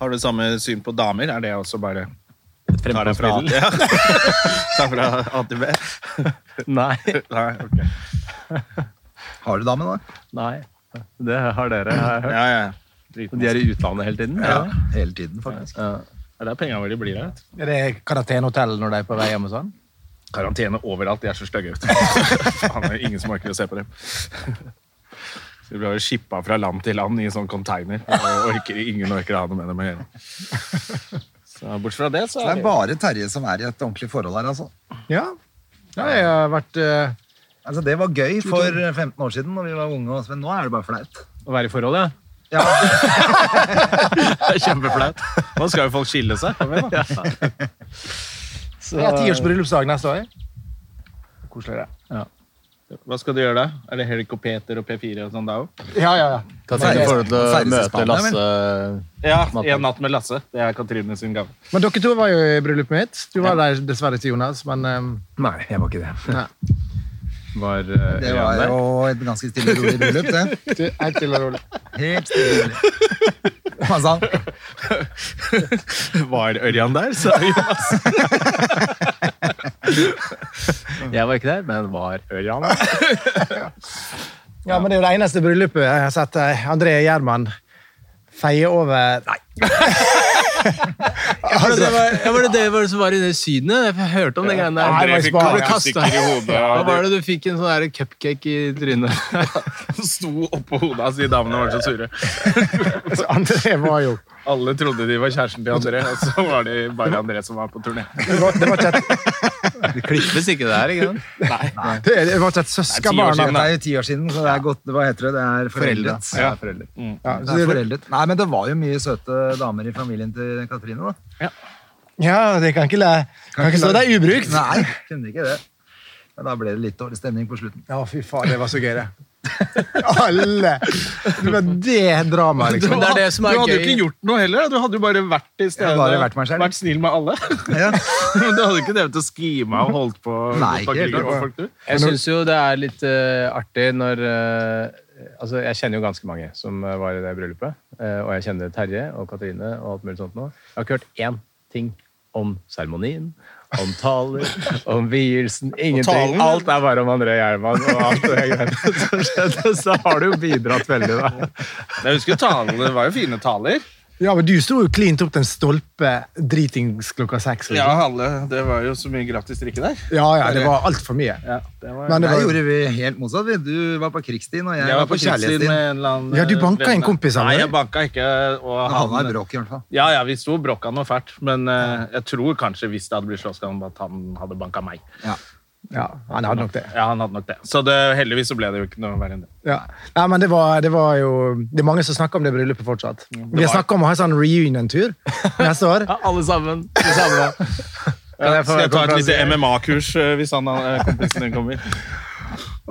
Har du samme syn på damer? Er det også bare
Et
Tar deg fra
[LAUGHS]
fremkomstmiddel?
Ja. [LAUGHS] Tar fra A til B?
Nei.
[LAUGHS] Nei, ok.
Har du dame, da?
Nei. Det har dere. har jeg hørt.
Ja, ja. Drit
De er i utlandet hele tiden?
Ja.
Ja.
Hele tiden, faktisk.
ja.
Det er der pengene våre blir av.
Er det karantenehotell når de er på vei hjem? og sånn?
Karantene overalt. De er så stygge. vet
[LAUGHS]
du. Faen, det er ingen som orker å se på dem. Så De blir jo shippa fra land til land i sånn container. og Orker, ingen orker å ha noe med dem å gjøre. Så bortsett fra det, så
Det
er
er
det
bare Terje som er i et ordentlig forhold her, altså.
Ja. ja, jeg har vært eh,
altså. Det var gøy for 15 år siden, når vi var unge, altså, men nå er det bare flaut.
Å være i forhold, ja.
[LAUGHS]
Ja,
kjempeflaut. Nå skal jo folk skille seg. Kom igjen, da.
Jeg har tiårs bryllupsdag neste år. Koselig, det.
Hva skal du gjøre da? Er det Helico Peter og P4 og sånn da òg?
Ja, ja, ja.
Katrine får lov til å
Ferdes i
møte
Spania,
Lasse
Ja,
Natt-
En natt med Lasse. Det er Katrine sin gave.
Men dere to var jo i bryllupet mitt. Du var der dessverre til Jonas, men eh,
Nei, jeg var ikke det.
Nei.
Var eh,
det
Ørjan
var
der?
jo et ganske stille og rolig bryllup,
[LAUGHS]
det.
du, helt stille og rolig.
Helt stille og rolig. Hva sa han?
Var Ørjan der, sa Jonas.
Jeg var ikke der, men var Ørjan der.
Ja, men Det er jo det eneste bryllupet jeg har sett eh, André Gjerman feie over Nei. [LAUGHS]
Var det, var, ja, var det det var det som var i det synet? Jeg hørte om den greia der.
Nei, det var i
fikk
Spania.
kastestikker i
[LAUGHS]
hodet.
Hva
og
var det du fikk en sånn der cupcake i trynet?
Det [LAUGHS] sto oppå hodet hans, de damene var så sure.
Altså, André var jo
Alle trodde de var kjæresten til André, og så var det bare André som var på turné.
Det var, det var ikke et,
Det klippes ikke der, ikke sant?
det, det var ikke
Det er
et
ti år
søskenbarn.
siden,
av-
Det er jo ti år siden, så det er godt, hva heter det? Det er foreldet.
Ja, foreldre.
Ja,
Det
så
er
det-
foreldet. Nei, men det var jo mye søte damer i familien til Katrine, da.
ja, det kan ikke, la- kan ikke stå der ubrukt.
Nei, kunne ikke det. Men da ble det litt dårlig stemning på slutten.
Ja, fy faen, det var så gøy, det. Alle! Det var det dramaet, liksom.
Men det er det som er
du hadde jo
gøy.
ikke gjort noe heller. da. Du hadde jo bare vært til
Jeg
stede.
hadde bare vært meg selv.
snill med alle.
Ja.
[LAUGHS] Men du hadde ikke drevet og skima og holdt på.
Nei,
på
ikke helt
grilla
klart.
og folk, du.
Jeg syns jo det er litt eh, artig når eh, Altså, jeg kjenner jo ganske mange som eh, var i det bryllupet. eh, og jeg kjenner Terje og Katrine og alt mulig sånt nå. Jeg har ikke hørt én ting om seremonien,
om
[LAUGHS]
taler, om vielsen,
talen,
ingenting.
ja.
Alt er bare om André Gjerman og alt det greiene [LAUGHS] som skjedde. Så har du jo bidratt veldig, da.
Jeg husker talene, det var jo fine taler.
Ja, men du sto jo klint opp til en stolpe dritings klokka seks.
Ja,
liksom.
alle, Det var jo så mye gratis drikke der.
ja, ja, det var altfor mye.
det var,
Men det
Der
var,
gjorde vi helt motsatt. vi. Du var på krigsstien, og jeg,
jeg
var på
kjærlighetstid
kjærlighetstien.
med en eller annen
Ja, du banka
venn.
en kompis av
Nei,
meg.
jeg banka ikke. Og
Han havna i bråk, i hvert fall.
Ja, ja, vi sto og bråka noe fælt, men eh, jeg tror kanskje hvis det hadde blitt slåsskamp, at han hadde banka meg.
ja, han hadde nok det.
Ja, han hadde nok det. Så det, heldigvis så ble det jo ikke noe verre enn det.
Ja. Nei, men det var, det var jo Det er mange som snakker om det bryllupet fortsatt. Vi har snakka om å ha en sånn reunion-tur neste år.
Ja, alle sammen. De samme.
Kan jeg
få
Skal jeg ta et lite
konferansier?
MMA-kurs eh, hvis han, eh, kompisen din kommer?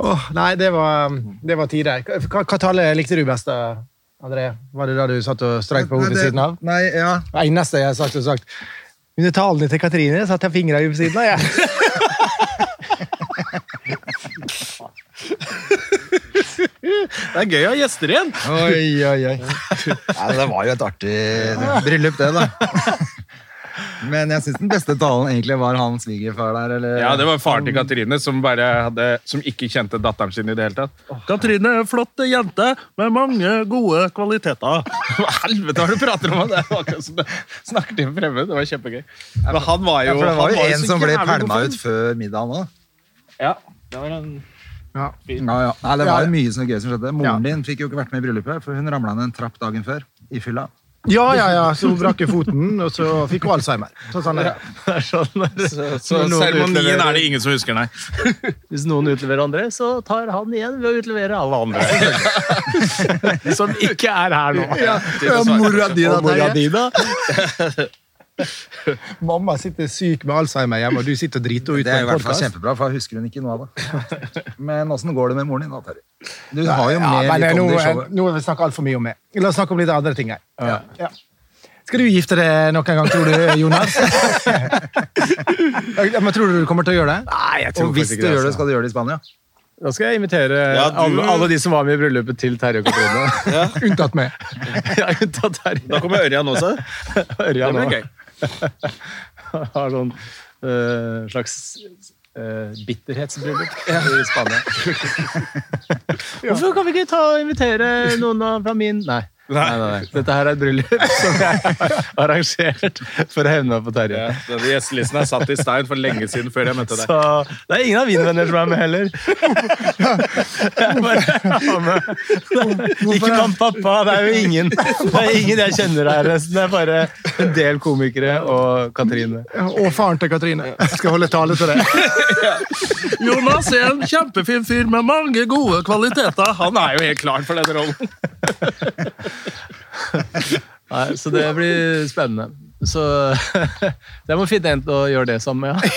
Åh, nei, det var, det var tider. Hva, hva tale likte du best, da, André? Var det da du satt og streik på hodet ved siden av?
Nei, ja.
Det eneste jeg har sagt, er sagt Under talene til Katrine satt jeg fingra ved siden av, jeg.
[LAUGHS] Det er gøy å ha gjester igjen!
Oi, oi, oi. Nei, det var jo et artig bryllup, det, da. Men jeg syns den beste talen egentlig var han svigerfar der, eller
Ja, det var faren til Katrine som, bare hadde, som ikke kjente datteren sin i det hele tatt. Katrine er en flott jente med mange gode kvaliteter. [LAUGHS] Hva helvete har du prater om? Det var akkurat som det snakker til en fremmed. Det var kjempegøy. Men han var
Ja,
jo
for det
han
var jo
jo
en
så
som ble
jævlig god
pælma
fyr.
ut før middagen òg.
Ja, det var en...
Ja, ja. Nei, det var
Ja.
jo mye sånn gøy som skjedde. Moren
Ja.
din fikk jo ikke vært med i bryllupet, for hun ramla ned en trapp dagen før i fylla.
[LAUGHS] Ja, ja, ja. Så hun brakk jo foten, og så fikk hun alzheimer. Sånn, sånn, er det.
Så
Når noen
seremonien
utleverer-
er det ingen som husker, nei.
Hvis noen utleverer andre, så tar han igjen ved å utlevere alle andre. Som ikke er her nå.
Ja, mora di, da,
Og mora
Terje.
di,
[LAUGHS]
da?
Mamma sitter syk med alzheimer hjemme, og du sitter og driter henne ut
Det er i
på en
hvert fall
podkast.
kjempebra, for da husker hun ikke noe av det. Men åssen går det med moren din da, Terje? Du har jo
Ja,
med
men
litt
nå,
om det i showet.
nå har vi snakket alt altfor mye om det. La oss snakke om litt andre ting her. Ja. Skal du gifte deg noen gang, tror du,
[LAUGHS]
Jonas? ja, men tror du du kommer til å gjøre det? altså.
Nei, jeg
Og hvis du gjør det, skal du gjøre det i Spania.
Da skal jeg invitere
Ja, du-
alle, alle de som var med i bryllupet til Terje og Katrine.
Unntatt meg.
[LAUGHS] Jeg har
Da
unntatt Terje.
kommer Ørjan også. Det
Ørjan
blir
nå.
gøy.
[LAUGHS] har sånn eh, slags eh, bitterhetsbryllup i Spania. Hvorfor kan vi ikke ta og invitere noen av- fra min Nei. Nei, nei, nei. Dette her er et bryllup som jeg har arrangert for å hevne meg på Terje.
[LAUGHS] Ja, denne Gjestelisten er satt i stein for lenge siden før jeg møtte deg.
Så det er ingen av mine venner som er med heller. Jeg bare har med. Ikke mamma og pappa, det er jo ingen. Det er ingen jeg kjenner her. resten. Det er bare en del komikere og Katrine.
Og faren til Katrine. Jeg skal holde tale til deg.
Jonas er en kjempefin fyr med mange gode kvaliteter. Han er jo helt klar for denne rollen.
Nei, så det blir spennende. Så [LAUGHS] jeg må finne en til å gjøre det sammen
[LAUGHS]
med, ja.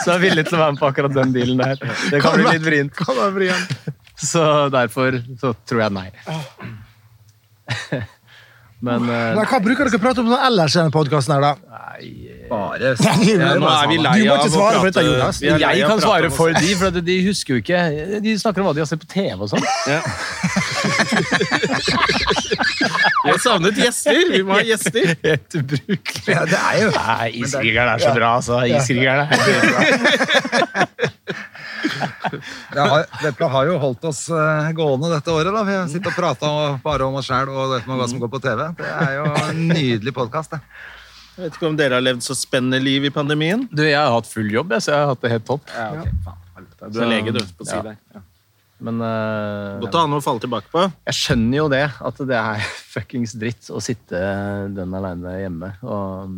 Så jeg er villig til å være med på akkurat den dealen der. Det kan bli litt vrient.
Kom da, Brian.
Så derfor så tror jeg nei.
Ah.
Men eh,
Nei, hva bruker dere å prate om sånn ellers i denne podkasten her, da?
Bare
Ja, nå er vi lei
Du må
av
ikke
å
svare for
prate-
dette, Jonas.
Vi er lei
jeg
av å
kan
prate
svare
om oss.
for de, for at de husker jo ikke De snakker om hva de har sett på TV og sånn. [LAUGHS]
Jeg savnet gjester. Vi må ha gjester.
Helt ubrukelig.
Ja, det er jo
Nei, Iskrigeren er så bra, altså. Iskrigeren er helt
[LAUGHS] det har, Dette har jo holdt oss eh, gående dette året. da. Vi har sittet og prata bare om oss sjæl og dette med hva som går på TV. Det er jo en nydelig podkast.
Jeg vet ikke om dere har levd så spennende liv i pandemien.
Du, jeg har hatt full jobb, jeg, så jeg har hatt det helt topp.
Du er lege, du. på å si
Ja.
det.
Men eh,
Godt å ha noe å falle tilbake på.
jeg skjønner jo det, at det er [LAUGHS] fuckings dritt å sitte den aleine hjemme og,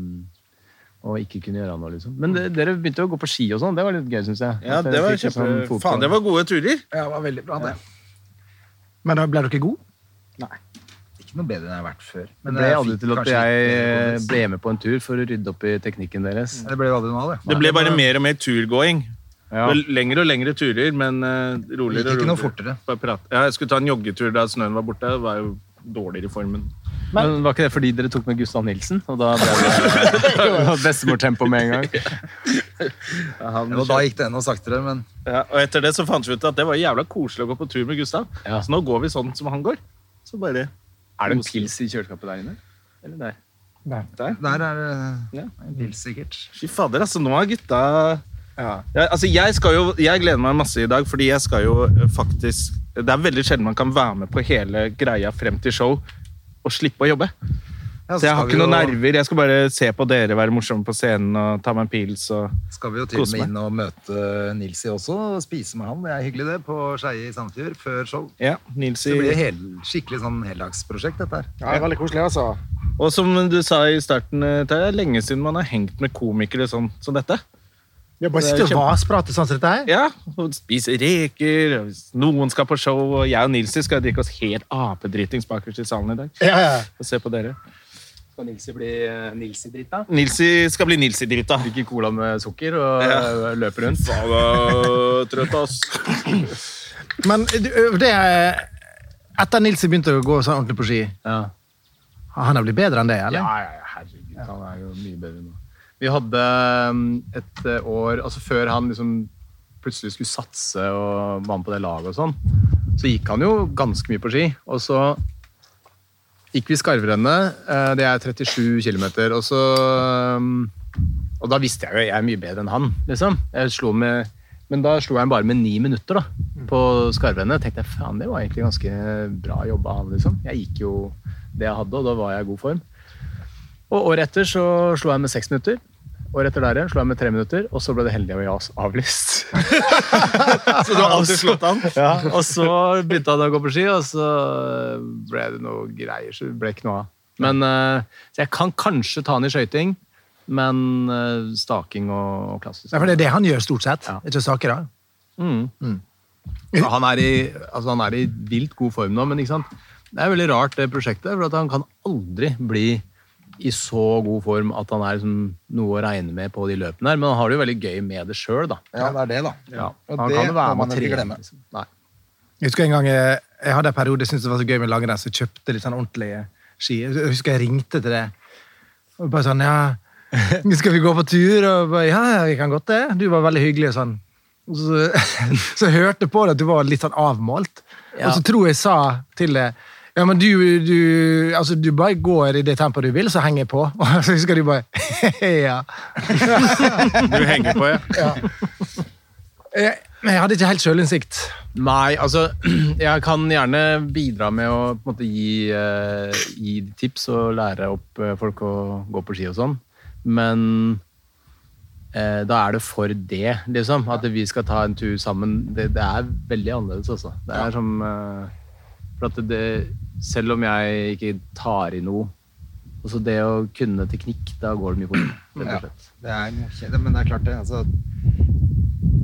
og ikke kunne gjøre noe, liksom. Men det, dere begynte jo å gå på ski og sånn. Det var litt gøy, syns jeg.
Ja,
At dere
det var
fikk litt
kjempe...
sånn fotball.
Faen, det var gode turer.
Ja, det var veldig bra, det.
Men da ble dere gode?
Ikke noe bedre enn jeg har vært før.
Det ble
jeg
aldri
fikk
til at
kanskje
jeg
eh,
litt mer
ble med på en tur for å rydde opp i teknikken deres.
bonus. Det ble jo aldri noe av det.
Det ble bare mer og mer turgåing.
Ja.
Det var Lengre og lengre turer, men eh,
Det
roligere
gikk
og
ikke noe
roligere.
fortere.
Bare prat. Ja, jeg skulle ta en joggetur da snøen var borte. Det var jo dårligere i formen.
Men, var ikke det fordi dere tok med Gustav Nilsen? Og da ble det bestemortempo med en gang.
Jo, da gikk det enda saktere, men
Ja, og etter det så fant vi ut at det var jævla koselig å gå på tur med Gustav.
Ja.
Så nå går vi sånn som han går. Så bare
Er det en pils i kjøleskapet der inne? Eller der?
Nei.
Der er det
Ja.
en pils, sikkert.
Fy fader, altså. Nå er gutta ja, altså, jeg, skal jo, jeg gleder meg masse i dag, fordi jeg skal jo eh, faktisk Det er veldig sjelden man kan være med på hele greia frem til show og slippe å jobbe.
Ja,
Så jeg har
skal vi
ikke noen
jo-
nerver. Jeg skal bare se på dere være morsomme på scenen og ta meg en pils. Og...
Skal vi jo til og
Kose
med
meg.
inn og møte Nilsi også, og spise med han. Det er hyggelig, det, på Skeie i Sandefjord før show.
Ja, Nils
Så det blir
i...
hel, skikkelig sånn heldagsprosjekt, dette her.
Ja, det er veldig koselig, altså.
Og som du sa i starten, eh, det er lenge siden man har hengt med komikere sånn som dette.
Ja, bare sitte og vasprate sånn som dette her.
Ja, og Spise reker, og hvis noen skal på show, og jeg og Nilsi skal drikke oss helt apedritings bakerst i salen i dag.
Ja, ja.
Og se på dere.
Skal Nilsi bli Nilsi-drita?
Nilsi skal bli Nilsi-drita.
Drikker cola med sukker og eh, løper rundt.
Trøtt, ass.
Men eh, du, det er Etter Nilsi begynte å gå sånn ordentlig på ski,
Ja.
han har blitt bedre enn det, eller?
Ja, ja, ja, herregud. Han er jo mye bedre nå. Vi hadde um, et eh, år altså Før han liksom plutselig skulle satse og var med på det laget og sånn, så gikk han jo ganske mye på ski. Og så gikk vi Skarvrennet. eh, Det er 37 km. Og så um, Og da visste jeg jo jeg er mye bedre enn han, liksom. Jeg slo med men da slo jeg ham bare med ni minutter da, på skarvrennet. tenkte jeg, faen, det var egentlig ganske bra jobba av han, liksom. Jeg gikk jo det jeg hadde, og da var jeg i god form. Og året etter så slo jeg med seks minutter. Året etter der igjen slo jeg med tre minutter, og så ble det heldig å avlyst.
[LAUGHS] Så du har alltid slått an?
ja, og så begynte han å gå på ski, og så ble det noe greier. Så det ble ikke noe av. Men, eh, så jeg kan kanskje ta han i skøyting, men eh, staking og, og klassisk
Nei, for det er det han gjør stort sett.
Ja.
Ikke saker, da.
Mm. Ja, Han, er i, altså han er i vilt god form nå, men ikke sant? det er veldig rart det prosjektet. For at han kan aldri bli i så god form at han er liksom noe å regne med på de løpene. her, Men han har det jo veldig gøy med det sjøl, da.
Ja, det er det, da. Og
han
det
kan jo være
må
med
man
å
ikke
trene,
glemme.
liksom. Nei.
Jeg husker en gang eh, jeg hadde en periode jeg syntes det var så gøy med langrenn, så jeg kjøpte litt sånn ordentlige ski. Jeg husker jeg ringte til det. Og bare sånn, ja, nå skal vi gå på tur? Og bare, ja, ja, vi kan godt det. Du var veldig hyggelig og sånn. Og så, [LAUGHS] så jeg hørte på det at du var litt sånn avmålt. Og så tror jeg jeg sa til det, ja, men du, du, altså, du bare går i det tempoet du vil, så henger jeg på. [LAUGHS] Og så husker du bare, [LAUGHS] ja.
Du henger på, ja. [LAUGHS]
Jeg, men jeg hadde ikke helt sjølinnsikt.
Nei, altså [CLEARS THROAT] Jeg kan gjerne bidra med å på en måte, gi, eh, gi tips og lære opp eh, folk å gå på ski og sånn. Men eh, da er det for det, liksom. At vi skal ta en tur sammen. Det, det er veldig annerledes, altså. Det er som eh, For at det, selv om jeg ikke tar i noe Også det å kunne teknikk, da går det mye fortere. rett og slett.
Det er, kje- men det er klart det. Altså,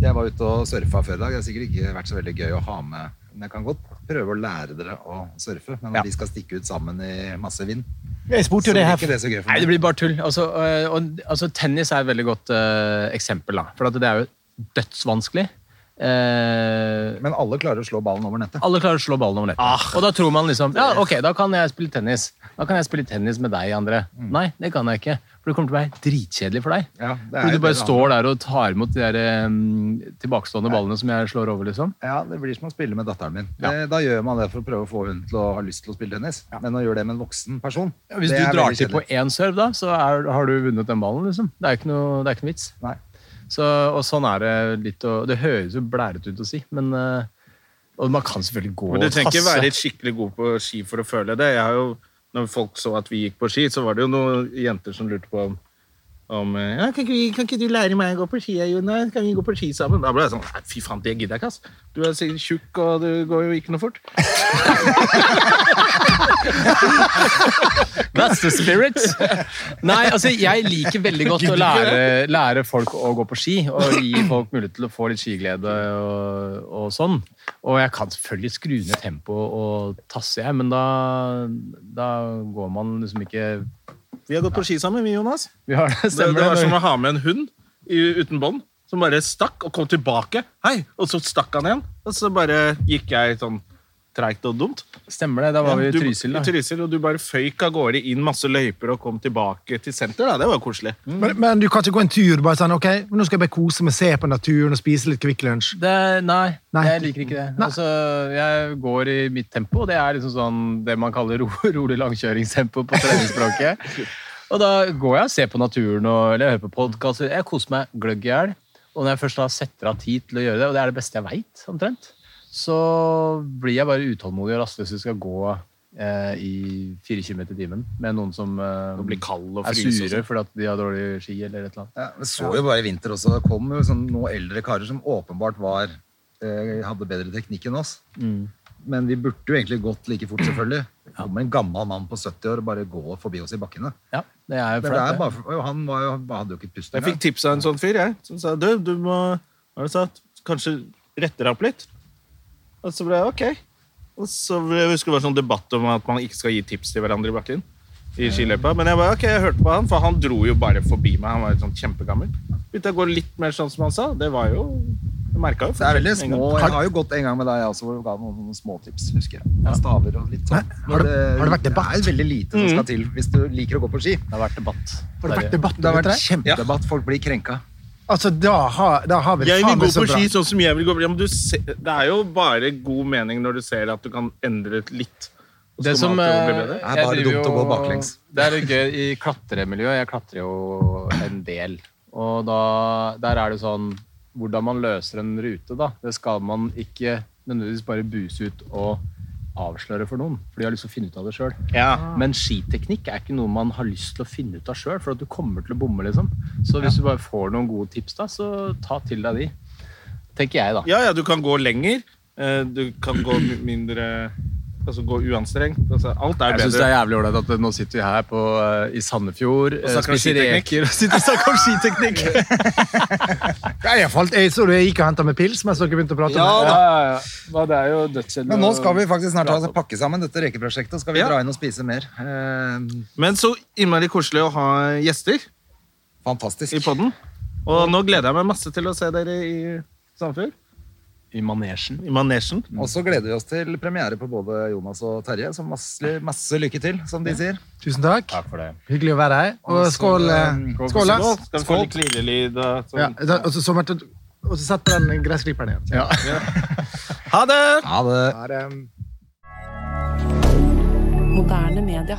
jeg var ute og surfa før i dag. Det har sikkert ikke vært så veldig gøy å ha med. Men jeg kan godt prøve å lære dere å surfe. Men at
Ja.
vi skal stikke ut sammen i masse vind,
Jeg spurte
så
jo det
blir
her.
ikke det så gøy for
Nei, det
meg.
blir bare tull. Altså, øh, og, altså, tennis er et veldig godt øh, eksempel. Da. For at det er jo dødsvanskelig. Eh,
Men alle klarer å slå ballen over nettet.
alle klarer å slå ballen over nettet. Og da tror man liksom Ja, ok, da kan jeg spille tennis. Da kan jeg spille tennis med deg, André. Nei, det kan jeg ikke. For det kommer til å være dritkjedelig for deg.
Ja, det er
Fordi
jo
du bare
det det
står der og tar imot de der, øh, tilbakestående ballene som jeg slår over, liksom.
Ja, det blir som å spille med datteren min. Det, da gjør man det for å prøve å få henne til å ha lyst til å spille tennis. Men å gjøre det med en voksen person,
Hvis
det
du
er
drar
veldig
til på
kjedelig.
én serve, da, så er, har du vunnet den ballen. liksom. Det er ikke noe, det er ikke noe vits.
Nei.
Så, og sånn er det litt å Det høres jo blærete ut å si, men eh, Og man kan selvfølgelig gå
Men du
og
trenger ikke
tasse.
være skikkelig god på ski for å føle det. Jeg har jo, når folk så at vi gikk på ski, så var det jo noen jenter som lurte på om, om eh, ja, kan, ikke vi, kan ikke du lære meg å gå på ski, Jonas? Kan vi gå på ski sammen? Da ble jeg sånn Nei, fy faen, det gidder jeg ikke, ass. Du er sikkert tjukk, og det går jo ikke noe fort.
[LAUGHS] That's the spirit! Nei, altså, jeg liker veldig godt å lære, lære folk å gå på ski, og gi folk mulighet til å få litt skiglede og, og sånn. Og jeg kan selvfølgelig skru ned tempoet og tasse, jeg, men da, da går man liksom ikke
Vi har gått på ski sammen, vi, Jonas.
Vi har det,
Det,
stemmer
det var
det.
som å ha med en hund i, uten bånd. Som bare stakk og kom tilbake. Hei! Og så stakk han igjen. Og så bare gikk jeg sånn treigt og dumt.
Stemmer det, da var vi
Ja,
i
du-
Trysil. da.
I Trysil, og du bare føyk av gårde inn masse løyper og kom tilbake til senter. da, Det var jo koselig.
Men, men du kan ikke gå en tur bare sånn, ok, men nå skal jeg bare kose meg, se på naturen og spise litt Kvikk Lunsj.
Det, nei,
Nei.
jeg liker ikke det.
Nei.
Altså, jeg går i mitt tempo, og det er liksom sånn det man kaller ro, rolig langkjøringstempo på treningsspråket. Og da går jeg og ser på naturen og eller jeg hører på podkast. Jeg koser meg gløgg i hjel. Og når jeg først da setter av tid til å gjøre det, og det er det beste jeg veit, omtrent, så blir jeg bare utålmodig og rastløs hvis jeg skal gå eh, i fire kilometer i timen med noen som eh,
Og blir kald og
er
fryse og
sure fordi at de har dårlig ski eller et eller annet.
Ja, vi så jo bare i vinter også. Det kom jo sånn, noen eldre karer som åpenbart var, eh, hadde bedre teknikk enn oss. Men vi burde jo egentlig gått like fort, selvfølgelig. Det kom en gammel mann på 70 år og bare gå forbi oss i bakkene.
Ja, det er jo
Men det
flaut,
er
det.
bare, for- og han var jo, han hadde jo ikke pust
Jeg fikk
engang.
tips av en sånn fyr jeg, som sa du, du må hva var det du sa, kanskje rette deg opp litt. Og så ble jeg ok. Og så ble- jeg husker det var sånn debatt om at man ikke skal gi tips til hverandre i bakken. I skiløypa. Men jeg bare, ok, jeg hørte på han, for han dro jo bare forbi meg. Han var jo sånn kjempegammel. Begynte jeg å gå litt mer sånn som han sa. Det var jo Jeg merka jo
Det er veldig
forskjellen
små.
en gang.
Jeg har jo gått en gang med deg jeg også, hvor du ga noen, noen småtips, husker jeg. Staver og litt sånn.
har det-
Men
har det vært debatt?
Det er veldig lite som skal til hvis du liker å gå på ski.
Mm. Det har vært debatt.
Har det vært debatt
Det har
om
vært
dette?
kjempedebatt. Folk blir krenka.
Altså, da har, da har vi det
Jeg vil
faen
gå
meg så
på
bra.
ski sånn som jeg vil gå på ja, men du se, Det er jo bare god mening når du ser at du kan endre litt. Og så kommer
Det som
alt til å bli
eh,
bedre.
er
jeg
bare
driver
dumt å
jo-
gå baklengs.
[LAUGHS] Det er litt gøy i klatremiljøet. Jeg klatrer jo en del. Og da, der er det sånn Hvordan man løser en rute, da. Det skal man ikke nødvendigvis bare buse ut og avsløre for noen. For de har lyst til å finne ut av det sjøl. Men skiteknikk er ikke noe man har lyst til å finne ut av sjøl, for at du kommer til å bomme, liksom. Så hvis du bare får noen gode tips, da, så ta til deg de. Tenker jeg, da.
Ja, ja, du kan gå lenger. eh, Du kan gå mi- mindre Altså gå uanstrengt. Altså, alt er
Jeg synes det
bedre.
er jævlig ålreit at eh, nå sitter vi her på, eh, i Sandefjord, eh,
snakker om
spiser
skiteknikk.
reker og sitter og snakker om skiteknikk.
Ja, Jeg, falt, jeg så du gikk og henta meg pils mens dere begynte å prate. om det.
Det er jo dødskjedelig.
Men nå skal vi faktisk snart altså, pakke sammen dette rekeprosjektet, og skal vi dra inn og spise mer. Eh,
[LAUGHS] Men så innmari koselig å ha gjester i
fantastisk.
poden. Og nå gleder jeg meg masse til å se dere i Sandefjord.
I manesjen.
I manesjen.
Og så gleder vi oss til premiere på både Jonas og Terje, så masse, masse lykke til, som de sier.
Tusen takk.
Takk for det.
Hyggelig å være her. Og skål, eh, skål
Nå
Lars.
skal vi få litt klirrelyd. og
Ja,
sånn.
da- og så- så Martin, og så sett på den gressklipperen igjen.
Ha det!
Ha det.
Ja, det-
Moderne media.